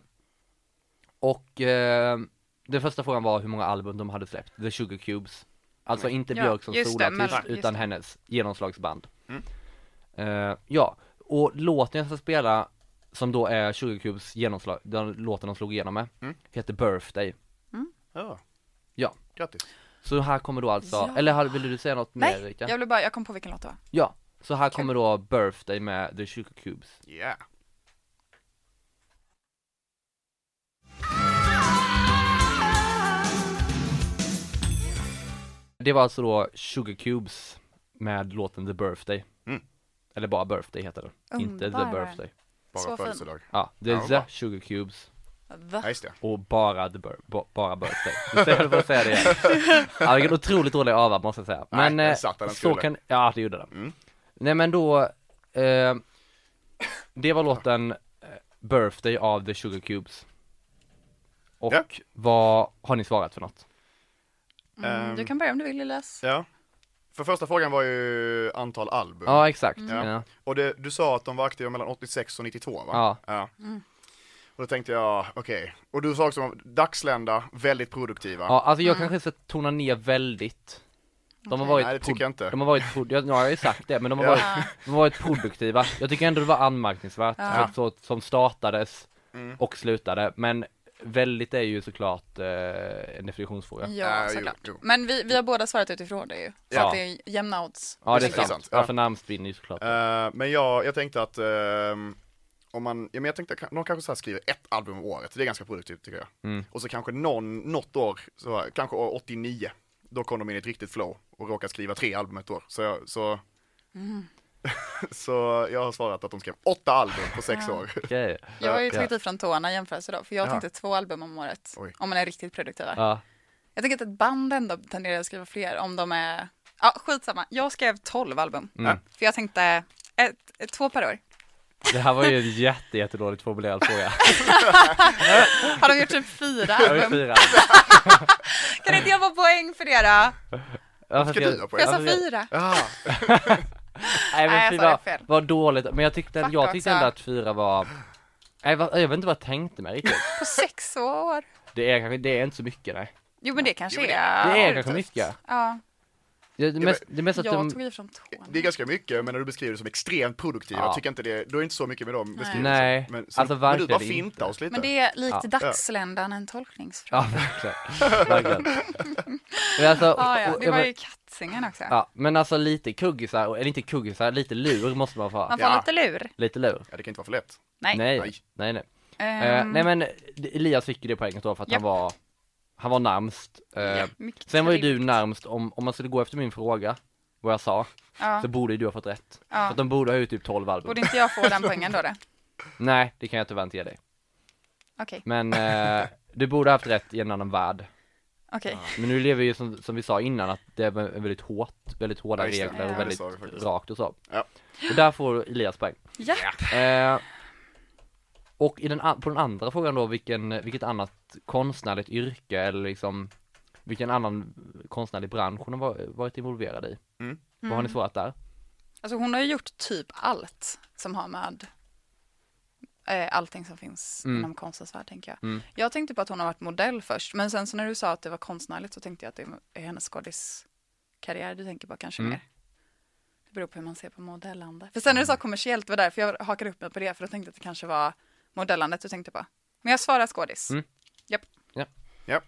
S3: och eh, den första frågan var hur många album de hade släppt, The Sugar Cubes. Alltså inte
S4: Ja,
S3: Björk som
S4: just det,
S3: solartist,
S4: mellan- just
S3: utan
S4: det.
S3: hennes genomslagsband.
S5: Mm.
S3: Eh, ja, och låten jag ska spela, som då är Sugarcubes genomslag, den låten de slog igenom med,
S5: Mm.
S3: heter Birthday.
S5: Ja.
S3: Ja.
S5: Grattis.
S3: Så här kommer då alltså,
S4: Ja.
S3: eller har- vill du säga något mer
S4: Nej,
S3: Erika?
S4: jag blev bara, jag kom på vilken låt det var.
S3: Ja, så här kommer då Birthday med The Sugarcubes.
S5: Yeah.
S3: Det var alltså då Sugarcubes med låten The Birthday.
S5: Mm.
S3: Eller bara Birthday heter den, inte The
S4: Underbar.
S3: Birthday.
S5: Bara
S4: Så fin.
S5: födelsedag.
S3: Ja, det är
S5: Ja,
S3: The
S5: bra.
S3: Sugarcubes
S5: Ja,
S4: The
S5: just det.
S3: och bara The bir- ba- bara Birthday. Nu säger jag för att säga det igen. Ja, vilken otroligt dålig ava måste jag säga.
S5: Nej,
S3: Men
S5: den
S3: eh,
S5: satt där den
S3: så
S5: skulle.
S3: kan, ja det gjorde den.
S5: Mm.
S3: Nej men då, eh, det var låten eh, Birthday av The Sugarcubes. Och
S5: Ja.
S3: vad har ni svarat för något?
S5: Ehm,
S4: Mm, du kan börja om du vill Elias.
S5: Ja. För första frågan var ju antal album.
S3: Ja exakt.
S5: Mm. Ja.
S3: Ja.
S5: Och det, du sa att de var aktiva mellan 86 och 92 va?
S3: Ja.
S4: Mm.
S5: Och då tänkte jag, okej. Och du sa också att dagslända, väldigt produktiva.
S3: Ja, alltså
S4: Mm.
S3: jag kanske ska tona ner väldigt. De har varit,
S5: Nej, det
S3: prod-
S5: tycker jag inte.
S3: De har varit, prod- jag, ja, jag har ju sagt det, men de har,
S5: Ja.
S3: varit, de har varit produktiva. Jag tycker ändå det var anmärkningsvärt,
S4: Ja.
S3: så, så, som startades
S5: Mm.
S3: och slutade, men väldigt är ju såklart eh, en definitionsfråga.
S4: Ja,
S5: Ja, jo,
S4: såklart.
S5: jo.
S4: Men vi, vi har båda svarat utifrån det ju. Så
S3: Ja.
S4: att det är jämna odds.
S3: Ja, det är
S5: det är
S3: sant.
S5: sant.
S3: Ja,
S5: Ja.
S3: för namnet vinner ju såklart.
S5: Eh, men jag, jag tänkte att ehm, om man, ja, men jag tänkte att någon kanske så här skriver ett album om året, det är ganska produktivt tycker jag.
S3: Mm.
S5: Och så kanske någon, något år, så, här, kanske år 89, då kom de in i ett riktigt flow och råkade skriva tre album ett år. Så, jag- så,
S4: Mm.
S5: så jag har svarat att de skrev åtta album på sex
S4: Ja.
S5: år.
S3: Okej.
S4: Jag har ju
S3: Ja.
S4: tagit i från tårna i jämförelse då, för jag
S5: Ja.
S4: tänkte två album om året.
S5: Oj.
S4: Om man är riktigt produktiv.
S3: Ja.
S4: Jag tänker att ett band ändå tenderar att skriva fler om de är, ja skitsamma. Jag skrev 12 album.
S3: Mm.
S4: För jag tänkte, ett, ett, två per år.
S3: Det här var ju en jätte, jättedåligt formulerad fråga.
S4: Har de gjort typ fyra
S3: Jag vill
S4: album?
S3: fira.
S4: Kan inte jag få poäng för det då?
S3: Ja, fast
S5: Ska du ha poäng?
S4: Jag sa fyra.
S5: Ah,
S3: Nej men
S4: Nej, jag sa
S3: fyra
S4: det fel.
S3: var dåligt, men jag tyckte,
S4: Fuck
S3: jag tyckte
S4: också.
S3: ändå att fyra var, nej vad- jag vet inte vad jag tänkte mig riktigt.
S4: På sex år.
S3: Det är kanske, det är inte så mycket nej.
S4: Jo men det kanske
S5: Jo, men det-
S4: är.
S3: det är kanske mycket.
S4: Ja,
S3: Det, det, mest, det mest att
S4: jag
S3: de,
S4: tog i från tårna.
S5: det är ganska mycket, men när du beskriver det som extremt produktiva,
S3: Ja.
S5: jag tycker inte det, då är det inte så mycket med dem beskrivningarna.
S3: Nej.
S5: men, så,
S3: Alltså,
S5: men du
S3: verkligen
S5: bara
S3: inte.
S5: fintar oss lite.
S4: Men det är likt
S3: Ja.
S4: dagsländan en tolkningsfråga.
S3: ja verkligen, verkligen. Men alltså,
S4: Ah, Ja, ja, det
S3: ja,
S4: var
S3: men-
S4: ju kattsingen också.
S3: ja, men alltså lite kuggisar, och- eller inte kuggisar, lite lur måste man få ha.
S4: Man får
S5: Ja.
S4: lite lur.
S3: Lite lur.
S5: Ja, det kan inte vara för lätt.
S4: Ah. Nej.
S3: Nej, nej,
S5: Nej.
S3: nej.
S4: Ehm,
S3: Eh, nej men Elias fick ju det poänget då för att
S4: Japp.
S3: han var, han var närmst. Eh,
S4: ja, mycket
S3: Sen var ju
S4: trevligt.
S3: du närmst, om, om man skulle gå efter min fråga, vad jag sa,
S4: Ja,
S3: så borde ju du ha fått rätt. För
S4: ja.
S3: att de borde ha ju typ 12 album.
S4: Borde inte jag få den poängen då? det?
S3: Nej, det kan jag tyvärr inte ge dig.
S4: Okej,
S3: Men eh, du borde ha haft rätt i en annan värld.
S4: okej.
S3: Men nu lever vi ju som, som vi sa innan att det är vä- väldigt hårt, väldigt hårda
S5: Ja, just det.
S3: regler
S4: Ja.
S3: och väldigt
S5: Det sa vi faktiskt.
S3: rakt och så.
S5: Ja.
S3: Och där får Elias poäng.
S4: Ja.
S3: Eh, och i den, an- på den andra frågan då, vilken, vilket annat konstnärligt yrke eller liksom vilken annan konstnärlig bransch hon har va- varit involverad i?
S5: Mm.
S3: Vad har ni svarat där?
S4: Alltså hon har ju gjort typ allt som har med eh, allting som finns
S3: Mm.
S4: inom konstens värld tänker jag.
S3: Mm.
S4: Jag tänkte på att hon har varit modell först, men sen så när du sa att det var konstnärligt så tänkte jag att det är hennes skådiskarriär du tänker på kanske
S3: Mm.
S4: mer. Det beror på hur man ser på modellande. För sen när du sa kommersiellt, det var därför jag hakade upp mig på det, för då tänkte jag att det kanske var modellandet du tänkte på. Men jag svarar skådis.
S3: Mm.
S4: Japp,
S5: Ja. Eh,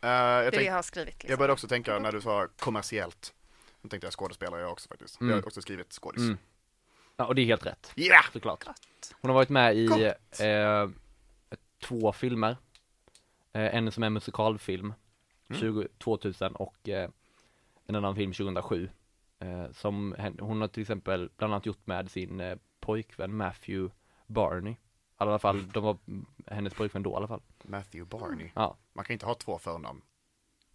S5: jag,
S4: det är det
S5: tänk,
S4: jag har skrivit.
S5: jag
S4: Liksom.
S5: började också tänka när du sa kommersiellt. Då tänkte jag skådespelare jag också faktiskt.
S3: Mm.
S5: Jag har också skrivit skådis.
S3: Mm. Ja, och det är helt rätt,
S5: Yeah!
S3: såklart.
S4: Gott.
S3: Hon har varit med i
S5: Gott.
S3: eh, två filmer. Eh, en som är en musikalfilm,
S5: Mm.
S3: 20, 2000 och eh, en annan film 2007. Eh, som hen- hon har till exempel bland annat gjort med sin eh, pojkvän Matthew Barney. Eller I alla fall, de var mm, hennes pojkvän då i alla fall.
S5: Matthew Barney.
S3: Ja.
S5: Man kan inte ha två förnamn.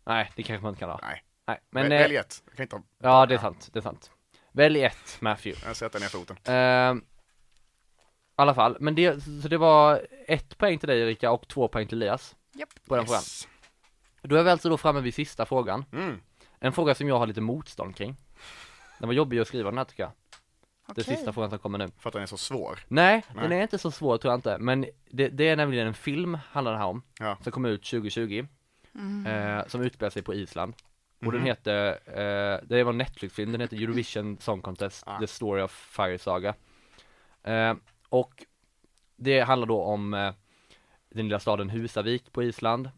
S3: Nej, det kanske man inte kan ha.
S5: Nej.
S3: Nej, men
S5: Men,
S3: eh,
S5: Välj ett. Jag kan inte ha,
S3: ja, det är sant, det är sant. Välj ett Matthew.
S5: jag sätter ner foten.
S3: Ehm, I alla fall, men det, så det var ett poäng till dig Erika och två poäng till Elias.
S4: Japp.
S3: På den frågan.
S5: Yes.
S3: Då är vi alltså då framme vid sista frågan.
S5: Mm.
S3: En fråga som jag har lite motstånd kring. Den var jobbig att skriva den här tycker jag. Det är
S4: Okej.
S3: sista frågan som kommer nu.
S5: För att den är så svår.
S3: Nej,
S5: Nej.
S3: den är inte så svår tror jag inte. Men det, det är nämligen en film handlar det här om.
S5: Ja.
S3: Som kom ut 2020. Eh, som utspelar sig på Island. Och
S5: Mhm.
S3: den heter, eh, det var en Netflix-film, den heter Eurovision Song Contest,
S5: Ah.
S3: The Story of Fire Saga eh, Och det handlar då om eh, den lilla staden Husavik på Island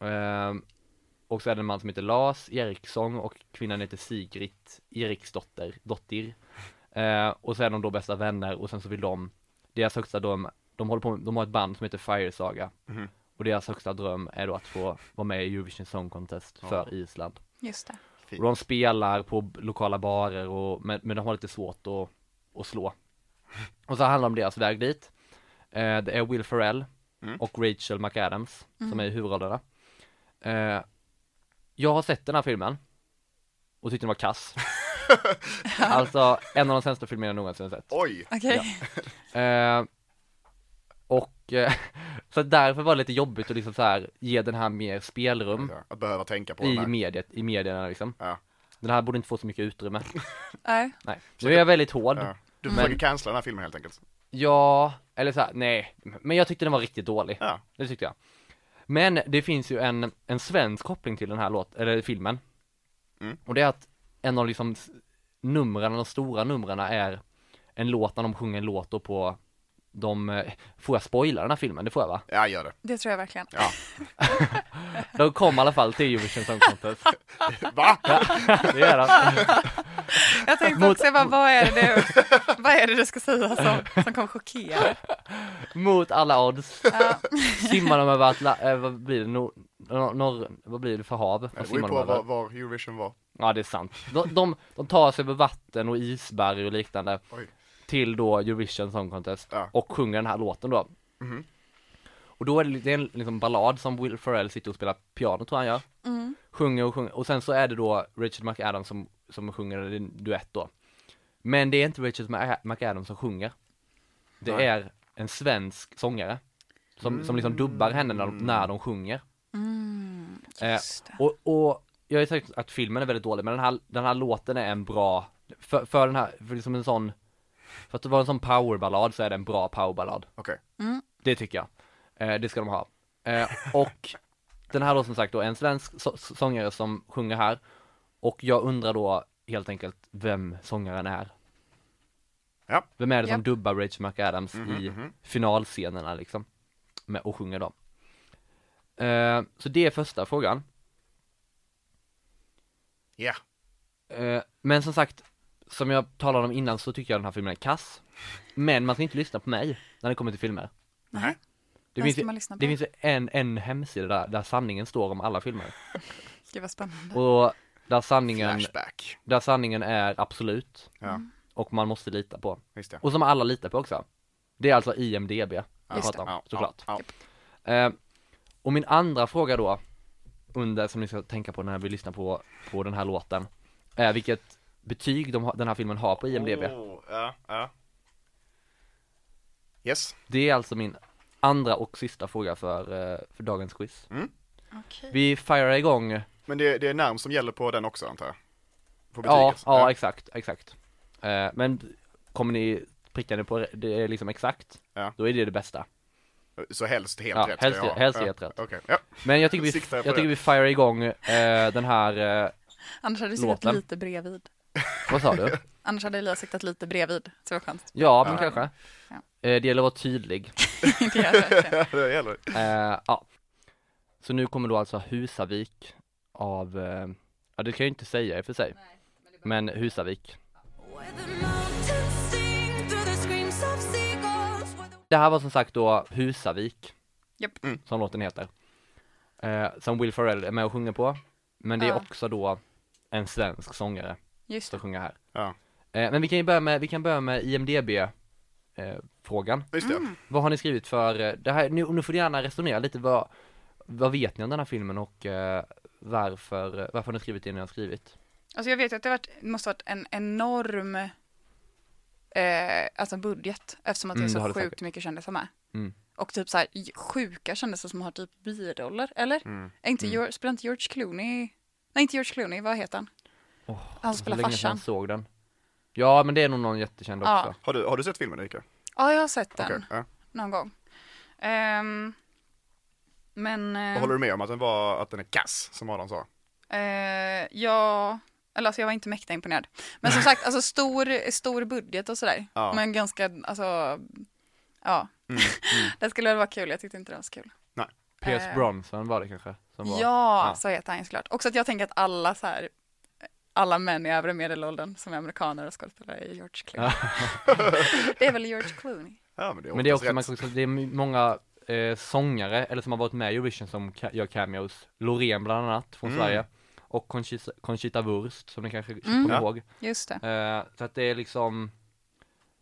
S3: eh, Och så är det en man som heter Lars Eriksson och kvinnan heter Sigrit Eriksdotter, dottir eh, Och så är de då bästa vänner och sen så vill de Deras högsta dröm, de håller på med, de har ett band som heter Fire Saga Och deras högsta dröm är då att få vara med i Eurovision Song Contest för Island
S4: Just det.
S3: och de spelar på b- lokala barer och, men, men de har lite svårt att, att slå. Och så handlar det om deras väg dit. Eh, det är Will Ferrell och Rachel McAdams som är i huvudrollerna. Eh, jag har sett den här filmen och tyckte den var kass. alltså en av de sämsta filmerna jag någonsin har sett.
S5: Oj!
S4: Okej.
S3: Eh, och eh, så därför var det lite jobbigt att liksom så här ge den här mer spelrum
S5: Ja, Att behöva tänka på den
S3: i
S5: här.
S3: mediet, i medierna liksom.
S5: Ja.
S3: Den här borde inte få så mycket utrymme.
S4: Nej.
S3: Nej, nu är jag väldigt hård.
S5: Ja. Du
S3: Mm. Men-
S5: försöker cancella den här filmen helt enkelt.
S3: Ja, eller så här, nej, men jag tyckte den var riktigt dålig.
S5: Ja.
S3: Det tyckte jag. Men det finns ju en, en svensk koppling till den här låt, eller filmen.
S5: Mm.
S3: Och det är att en av liksom s- numren, de stora numren är en låt när de sjunger en låt då på de, eh, får jag spoila den här filmen? Det får jag va?
S5: Ja, gör det.
S4: Det tror jag verkligen.
S5: Ja.
S3: De kom i alla fall till Eurovision Song Contest.
S5: Va?
S3: Det är de.
S4: Jag tänkte
S3: Mot-
S4: också, jag bara, vad är det du, vad är det du ska säga som, som kommer chockera?
S3: Mot alla odds. Simmar de över Atla- eh, vad blir det, nor- nor- norr, vad blir det för hav?
S5: Det
S3: Vad
S5: beror ju
S3: simmar de
S5: på
S3: över?
S5: var, var Eurovision var.
S3: Ja det är sant. De, de, de tar sig över vatten och isberg och liknande
S5: Oj.
S3: till då Eurovision Song Contest
S5: Ja. Mhm.
S3: och sjunger den här låten då. Och då är det, li- det är en liksom ballad som Will Ferrell sitter och spelar piano tror jag han gör. Sjunger och sjunger och sen så är det då Richard McAdams som, som sjunger en duett då. Men det är inte Richard Mac- McAdams som sjunger. Det
S5: Nej.
S3: är en svensk sångare som, som liksom dubbar henne när de, när de sjunger. Eh,
S4: Just det.
S3: och, och jag har ju sagt att filmen är väldigt dålig, men den här, den här låten är en bra, för, för den här, för liksom en sån, för att det var en sån powerballad så är det en bra powerballad.
S5: Okej.
S3: Det tycker jag. Eh, det ska de ha. Eh, och den här då som sagt då, en svensk så- så- sångare som sjunger här. Och jag undrar då helt enkelt vem sångaren är.
S5: Ja.
S3: Vem är det som
S4: Japp.
S3: dubbar Rachel McAdams i finalscenerna liksom? Med, och sjunger dem. Eh, så det är första frågan.
S5: Ja.
S3: Eh, men som sagt, som jag talade om innan så tycker jag den här filmen är kass. Men man ska inte lyssna på mig när det kommer till filmer.
S5: Nej.
S3: Det
S4: Vem
S3: finns,
S4: ska
S3: ju-
S4: man lyssna på?
S3: det finns ju en, en hemsida där, där sanningen står om alla filmer.
S4: Gud vad spännande.
S3: Och där sanningen,
S5: Flashback.
S3: där sanningen är absolut
S5: Ja,
S3: och man måste lita på.
S5: visst det.
S3: Och som alla litar på också. Det är alltså IMDB jag
S4: Just
S3: pratar om,
S5: Ja,
S3: såklart.
S5: Ja,
S3: Eh, och min andra fråga då, under, som ni ska tänka på när vi lyssnar på, på den här låten, är vilket betyg de, har- den här filmen har på
S5: ja.
S3: IMDB.
S5: Oh, ja, ja. Yes.
S3: Det är alltså min andra och sista fråga för, eh, för dagens quiz.
S5: Mm.
S4: Okej.
S3: Vi firar igång,
S5: Men det, det är namn som gäller på den också antar jag? På
S3: ja,
S5: betyget?
S3: ja exakt, exakt. Eh, men kommer ni, prickar ni på det är liksom exakt,
S5: Ja.
S3: då är det det bästa.
S5: Så helst helt
S3: Ja,
S5: rätt ska
S3: helst-
S5: jag ha.
S3: helst
S5: ja.
S3: helt rätt.
S5: Okej, ja.
S3: Men jag tycker vi,
S5: Siktar jag på
S3: jag tycker
S5: det.
S3: vi firar igång eh, den här, eh,
S4: Annars hade du siktat
S3: låten.
S4: lite bredvid.
S3: vad sa du?
S4: Annars hade Elias siktat lite bredvid. Så det var skönt.
S3: Ja, men kanske.
S4: Ja.
S3: Eh, det gäller att vara tydlig.
S4: Det gör jag verkligen.
S5: det gäller.
S3: Eh, ja. Så nu kommer då alltså Husavik av, eh, ja det kan jag ju inte säga i och för sig, men Husavik.
S6: Where the mountains sing through the screams of seagulls. Where the
S3: Det här var som sagt då Husavik,
S4: Japp.
S3: som låten heter. Eh, som Will Ferrell är med och sjunger på, men det är
S4: Ja.
S3: också då en svensk sångare
S4: Just
S3: som
S4: det.
S3: sjunger här.
S5: Ja,
S3: Eh, men vi kan ju börja med, vi kan börja med IMDB-frågan.
S5: just det.
S3: eh,
S4: Mm.
S3: Vad har ni skrivit för, eh, det här, nu, nu får ni gärna resonera lite, vad, vad vet ni om den här filmen och eh, varför, varför har ni skrivit det ni har skrivit?
S4: Alltså jag vet ju att det har varit, måste ha varit en enorm eh, alltså budget eftersom att det är
S3: Mm, det
S4: så
S3: har det
S4: sjukt
S3: säkert.
S4: mycket kändisar med.
S3: Mm.
S4: Och typ så här j- sjuka kändisar som har typ biroller, eller?
S3: Mm.
S4: Är inte George, spelar inte George Clooney? Nej, inte George Clooney, vad heter han? han spelar
S3: Så länge sedan
S4: farsan.
S3: jag såg den. Ja, men det är nog någon jättekänd
S4: Ja.
S3: också.
S5: Har du, har du sett filmen Erika?
S4: Ja, jag har sett den
S5: Okej, ja.
S4: någon gång. Ehm, men... eh,
S5: Och håller du med om att den var, att den är kass, som Adam sa?
S4: Eh, ja, eller alltså jag var inte mäkta imponerad. Men som sagt, alltså stor, stor budget och sådär.
S5: Ja.
S4: Men ganska, alltså, ja. det skulle väl vara kul, jag tyckte inte det var så kul.
S3: Pierce
S4: Eh.
S3: Bronson var det kanske? Som var...
S4: Ja,
S3: ja.
S4: så heter han ju såklart. Också att jag tänker att alla så här, alla män i övre medelåldern som är amerikaner och skådespelare är George Clooney. det är väl George Clooney?
S5: Ja, men det är,
S3: Men det är
S5: oftast
S3: också, man,
S5: rätt.
S3: kan också- det är många eh, sångare, eller som har varit med i Eurovision som ca- gör cameos. Loreen bland annat, från
S5: Mm.
S3: Sverige. Och Conchita, Conchita Wurst, som ni kanske kommer
S4: Mm.
S5: Ja.
S3: ihåg.
S4: Just det.
S3: Eh, så att det är liksom,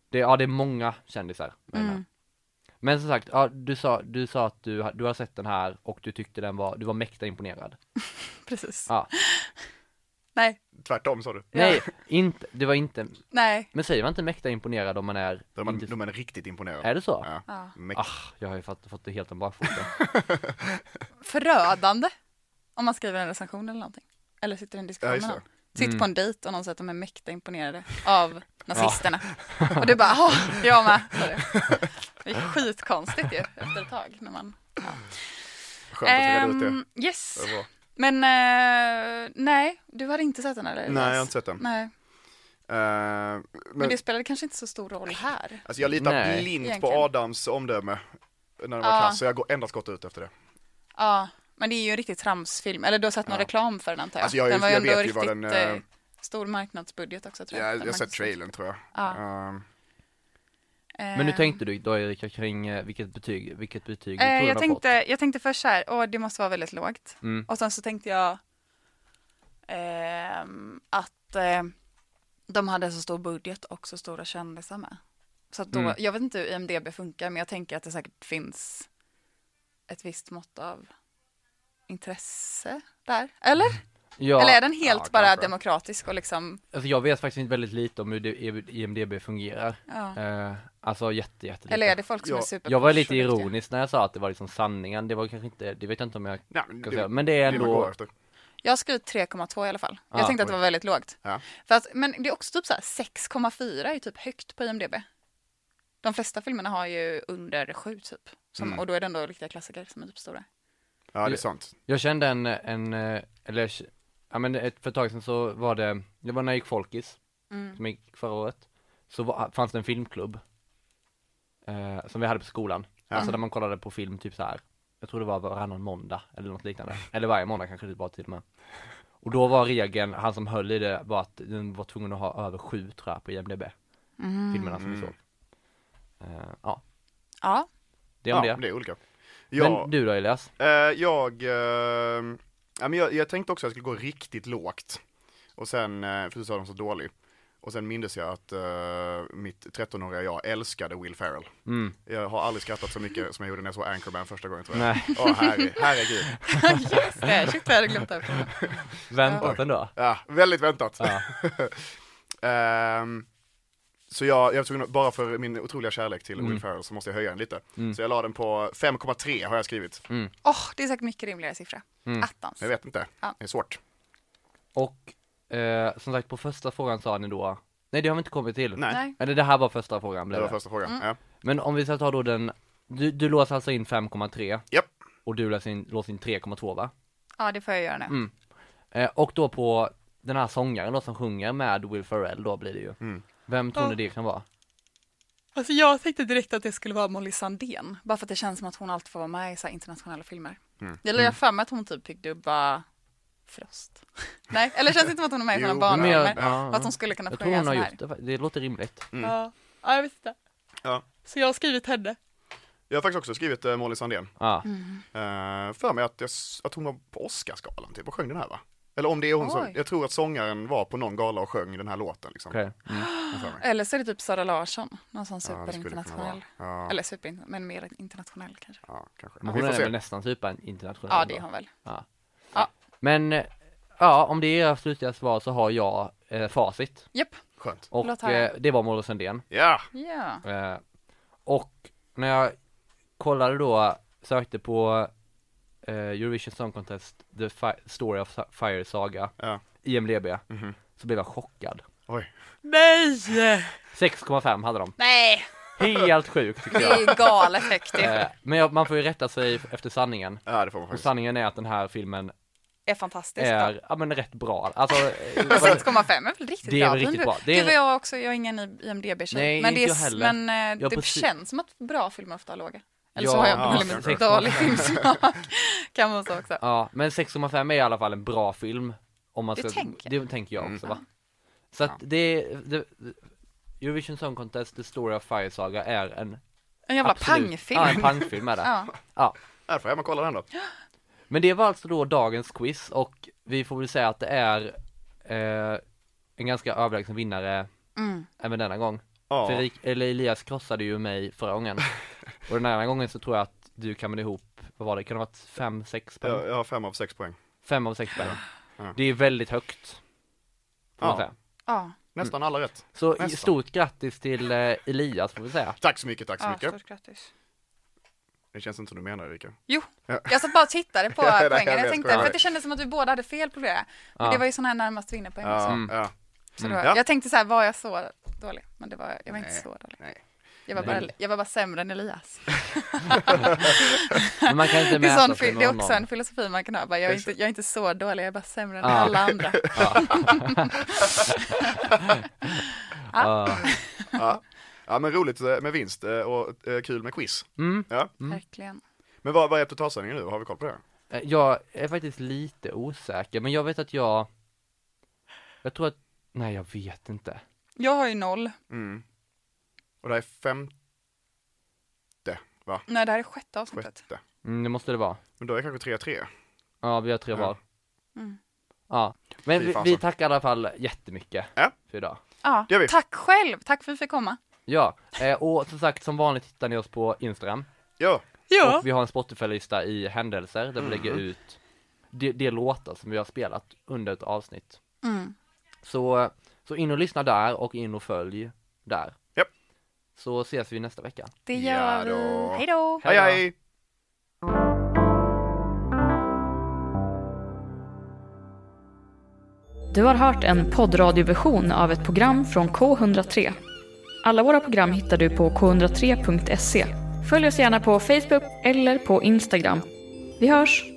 S3: det, ja det är många kändisar. med den här.
S4: Mm.
S3: Men som sagt, ja, du, sa, du sa att du, ha- du har sett den här och du tyckte den var, du var mäkta imponerad.
S4: Precis.
S3: Ja.
S4: Nej,
S5: Tvärtom sa du.
S3: Nej, inte, det var inte,
S4: nej.
S3: men säger man inte mäkta imponerad om man är,
S5: Då är man,
S3: inte,
S5: då är man riktigt imponerad.
S3: är det så?
S5: Ja.
S4: Ja.
S5: Mäktigt.
S3: Ah, jag har ju fått, fått det helt om bakfoten.
S4: Förödande. Om man skriver en recension eller någonting. Eller sitter i en diskussion
S5: Ja, just
S4: med någon.
S5: det.
S4: Sitt på
S3: Mm.
S4: en dejt och någon säger att de är mäkta imponerade av nazisterna. Och du bara, ja, jag med. sa du. Det är skitkonstigt ju efter ett tag. När man...
S5: Skönt att vi redde ut det.
S4: Ehm, yes.
S5: det. var bra.
S4: Men eh, nej, du hade inte sett den eller?
S5: Nej, jag har inte sett den.
S4: Nej,
S5: Eh,
S4: men, det spelade kanske inte så stor roll här.
S5: Alltså jag litar
S3: Nej.
S5: blint
S4: Egentligen.
S5: på Adams omdöme när den var
S4: Ja.
S5: kass, så jag går endast gott ut efter det.
S4: Ja, men det är ju en riktig tramsfilm. Eller du har sett någon
S5: Ja.
S4: reklam för den antar jag.
S5: Alltså, jag-
S4: den var ju
S5: jag
S4: ändå
S5: vet ju
S4: riktigt
S5: vad den, eh,
S4: eh, stor marknadsbudget också tror jag.
S5: Jag,
S4: Den
S5: jag har sett
S4: marknads-
S5: trailern tror jag.
S4: Ja.
S5: Ehm,
S3: Men nu
S4: Eh,
S3: tänkte du då Erika kring eh, vilket betyg, vilket betyg du tror
S4: Eh,
S3: den
S4: jag,
S3: har
S4: tänkte, jag tänkte först så här, åh det måste vara väldigt lågt.
S3: Mm.
S4: Och sen så tänkte jag ehm, att eh, de hade så stor budget och så stora kändisar med. Så att då,
S3: Mm.
S4: jag vet inte hur IMDB funkar men jag tänker att det säkert finns ett visst mått av intresse där. Eller?
S3: fått. Ja,
S4: Eller är den helt
S5: Ja,
S4: bara
S5: kanske.
S4: demokratisk och liksom,
S3: alltså jag vet faktiskt inte väldigt lite om hur det- E IMDB fungerar.
S4: ja.
S3: Eh, alltså jätte, jättelite.
S4: Eller är det folk som
S5: Ja,
S4: är super
S3: Jag var lite ironisk när jag sa att det var liksom sanningen, det var kanske inte, det vet jag inte om jag kan
S5: nej, men det,
S3: säga,
S5: det,
S3: men det är
S5: är det man går
S3: ändå,
S5: efter.
S4: Jag har skrivit 3,2 i alla fall.
S3: Ah,
S4: jag tänkte att det
S5: oj.
S4: var väldigt lågt.
S5: Ja.
S4: För att, men det är också typ så här 6,4 är ju typ högt på IMDB. De flesta filmerna har ju under 7 typ. Som,
S5: Mm.
S4: Och då är det ändå riktiga klassiker som är typ stora.
S5: Ja, det är sant.
S3: jag kände en, en, eh, eller, ja men ett, för ett tag sedan så var det, det var när jag gick Folkis,
S4: Mm.
S3: som gick förra året, så var, fanns det en filmklubb, eh, som vi hade på skolan,
S5: Ja.
S3: alltså där man kollade på film typ så här. jag tror det var varannan måndag eller något liknande, eller varje måndag kanske det var till och med. Och då var regeln, han som höll i det, var att den var tvungen att ha över sju tror jag på IMDB, filmerna som vi såg. Eh, ja,
S4: Ja,
S3: det är om
S5: Mm. ja,
S3: det.
S5: det är olika. Ja,
S3: Men du då Elias?
S5: eh, jag, eh, ja, men jag, jag tänkte också att jag skulle gå riktigt lågt. Och sen, eh, för du sa den så dålig. Och sen mindes jag att eh, mitt 13-åriga jag älskade Will Ferrell.
S3: Mm.
S5: Jag har aldrig skrattat så mycket som jag gjorde när jag såg Anchorman första gången tror jag.
S3: Nej,
S5: Åh, herre, herregud.
S4: just det. Shit, jag hade glömt det. här frågan.
S3: väntat ändå.
S5: Ja, väldigt väntat.
S3: Ja.
S5: Ehm, så jag, jag var tvungen, att- bara för min otroliga kärlek till
S3: Mm.
S5: Will Ferrell så måste jag höja den lite.
S3: Mm.
S5: Så jag la den på 5,3 har jag skrivit.
S4: Åh, det är säkert mycket rimligare siffra.
S3: Mm.
S4: Attans.
S5: Jag vet inte,
S4: Ja.
S5: det är svårt.
S3: Och eh, som sagt på första frågan sa ni då, nej det har vi inte kommit till.
S5: Nej,
S4: Nej.
S3: Eller det här var första frågan
S5: det
S3: blev
S5: var
S3: det.
S5: första frågan.
S4: Mm.
S5: Ja.
S3: Men om vi ska ta då den, du, du låser alltså in 5,3
S5: Japp.
S3: och du låser in, låser in 3,2 va?
S4: Ja, det får jag göra nu.
S3: Mm. Eh, och då på den här sångaren då som sjunger med Will Ferrell då blir det ju.
S5: Mm.
S3: Vem tror ni
S4: Ja.
S3: det kan vara?
S4: Alltså, jag tänkte direkt att det skulle vara Molly Sandén. Bara för att det känns som att hon alltid får vara med i så här internationella filmer.
S5: Mm.
S4: Eller jag har för mig att hon typ fick dubba Frost. Nej, eller känns det inte som att hon är med i sådana
S5: Jo,
S3: Men
S4: barnfilmer?
S3: jag, ja,
S4: Och att hon skulle kunna
S3: jag
S4: plugga
S3: tror hon
S4: en
S3: har
S4: sån
S3: gjort
S4: här.
S3: det, det låter rimligt.
S5: Mm.
S4: Ja. ja, jag vet inte.
S5: Ja.
S4: Så jag har skrivit henne.
S5: Jag har faktiskt också skrivit eh, Molly Sandén.
S3: Ja.
S4: Mm.
S5: Eh, för mig att, jag, s- att hon var på Oscarsgalan typ och sjöng den här va? Eller om det är hon som,
S4: Oj.
S5: jag tror att sångaren var på någon gala och sjöng den här låten liksom.
S3: Okej. Mm.
S5: har för mig.
S4: Eller så är det typ Sara Larsson. Någon
S5: Ja,
S4: sån
S5: det skulle kunna
S4: superinternationell.
S5: vara. Ja,
S4: Eller superinternationell, men mer internationell kanske.
S5: ja, kanske.
S3: Men
S5: Vi
S3: hon
S5: får
S3: är väl
S5: se.
S3: nästan typ en internationell
S4: Ja, det
S3: då.
S4: är hon väl.
S3: Men eh, ja, om det är era slutliga svar så har jag eh, facit.
S4: Japp.
S5: Skönt.
S3: Och
S4: Låt höra.
S3: eh, det var Mårten Sundén.
S5: Ja,
S4: Ja.
S3: Eh, och när jag kollade då, sökte på eh, Eurovision Song Contest, The Fi- Story of Sa- Fire Saga,
S5: Ja.
S3: IMDB,
S5: Mhm.
S3: så blev jag chockad.
S5: oj.
S4: Nej!
S3: 6,5 hade de.
S4: Nej,
S3: Helt sjukt tycker
S4: det
S3: jag.
S4: är ju galet högt. det.
S3: Eh, men jag, man får ju rätta sig efter sanningen.
S5: Ja, det får man
S3: Och
S5: faktiskt.
S3: sanningen är att den här filmen
S4: är fantastiskt bra.
S3: är, ja men rätt bra. Alltså, eh,
S4: Men
S3: vad-
S4: 6,5 är väl riktigt
S3: Det är
S4: bra?
S3: väl riktigt
S4: filmfru-
S3: bra. Det är-
S4: Gud vad jag också, jag är ingen IMDB-tjej.
S3: Nej,
S4: Men, det,
S3: inte jag
S4: är, s-
S3: heller.
S4: men eh,
S3: Jag
S4: det
S3: precis-
S4: känns som att bra filmer ofta har låga. Eller så
S3: Ja,
S4: har jag
S3: ja,
S4: dålig,
S3: kanske.
S4: dålig filmsmak. kan man säga också.
S3: ja, men 6,5 är i alla fall en bra film. Om man
S4: Det
S3: ska,
S4: tänker
S3: det tänker
S5: Mm.
S3: jag också va. Så att det, det, Eurovision Song Contest, The Story of Fire Saga är en
S4: En jävla
S3: absolut-
S4: pangfilm.
S3: Ja, en pangfilm är det.
S4: Ja.
S3: Ja.
S5: Här får jag man kolla den då.
S3: Men det var alltså då dagens quiz och vi får väl säga att det är eh, en ganska överlägsen vinnare
S4: Mm.
S3: även denna gång.
S5: Ja.
S3: För Erik, eller Elias krossade ju mig förra gången. och den här gången så tror jag att du kammade ihop, vad var det, kan det ha varit fem, sex poäng?
S5: Jag, jag har fem av sex poäng.
S3: Fem av sex poäng.
S5: Ja.
S3: Det är väldigt högt. Får man
S5: Ja.
S3: säga.
S4: ja.
S5: Nästan alla rätt.
S3: Så
S5: Nästan.
S3: stort grattis till eh, Elias får vi säga.
S5: Tack så mycket, tack så
S4: ja
S5: mycket.
S4: stort grattis.
S5: Det känns inte som du menar Erika.
S4: Jo,
S5: Ja.
S4: jag satt bara och tittade på
S5: Ja, det här
S4: poängen. Jag
S5: vet
S4: tänkte,
S5: jag.
S4: för att det kändes som att vi båda hade fel på det. Men
S3: Ja.
S4: det var ju sån här närmast vinnerpoäng
S5: Ja,
S4: också.
S5: ja.
S4: Så då,
S5: Ja.
S4: Jag tänkte så här, var jag så dålig? Men det var, jag var inte så dålig.
S5: nej.
S4: Jag, var bara, jag var bara sämre än Elias.
S3: Men man kan inte
S4: Det är, sån,
S3: mäta sig
S4: fil-
S3: med
S4: det är
S3: honom.
S4: också en filosofi man kan ha. Bara, jag, är inte, jag är inte så dålig, jag är bara sämre än
S3: Ja.
S4: alla andra.
S3: Ja.
S5: ja, men roligt eh, med vinst eh, och eh, kul med quiz.
S3: Mm.
S5: Ja.
S4: Verkligen.
S5: Men vad, vad är totalsändningen nu? Har vi koll på det?
S3: Eh, Jag är faktiskt lite osäker, men jag vet att jag Jag tror att, nej jag vet inte
S4: Jag har ju noll.
S5: Mm. Och det här är femte, va?
S4: Nej, det här är sjätte avsnittet.
S5: Sjätte.
S3: mm, Det måste det vara
S5: Men då är det kanske 3-3.
S3: Ja, vi har tre
S5: Ja.
S3: var
S4: Mm.
S3: Ja, men
S5: Fy
S3: vi,
S5: fasen.
S3: vi tackar i alla fall jättemycket
S5: Ja.
S3: för idag
S4: Ja,
S5: Det gör vi.
S4: tack själv. Tack för att vi fick komma.
S3: Ja, eh, och som sagt som vanligt hittar ni oss på Instagram
S5: Ja,
S4: Ja. Mm.
S3: Och vi har en Spotify-lista i händelser där vi lägger ut de, de låtar som vi har spelat under ett avsnitt
S4: Mm.
S3: Så, så in och lyssna där och in och följ där
S5: Japp.
S3: Så ses vi nästa vecka
S4: Det
S5: Ja
S4: gör
S5: då.
S4: vi. Hej då.
S5: hej
S3: då.
S5: hej!
S1: Du har hört en poddradioversion av ett program från K103. Alla våra program hittar du på k103.se. Följ oss gärna på Facebook eller på Instagram. Vi hörs!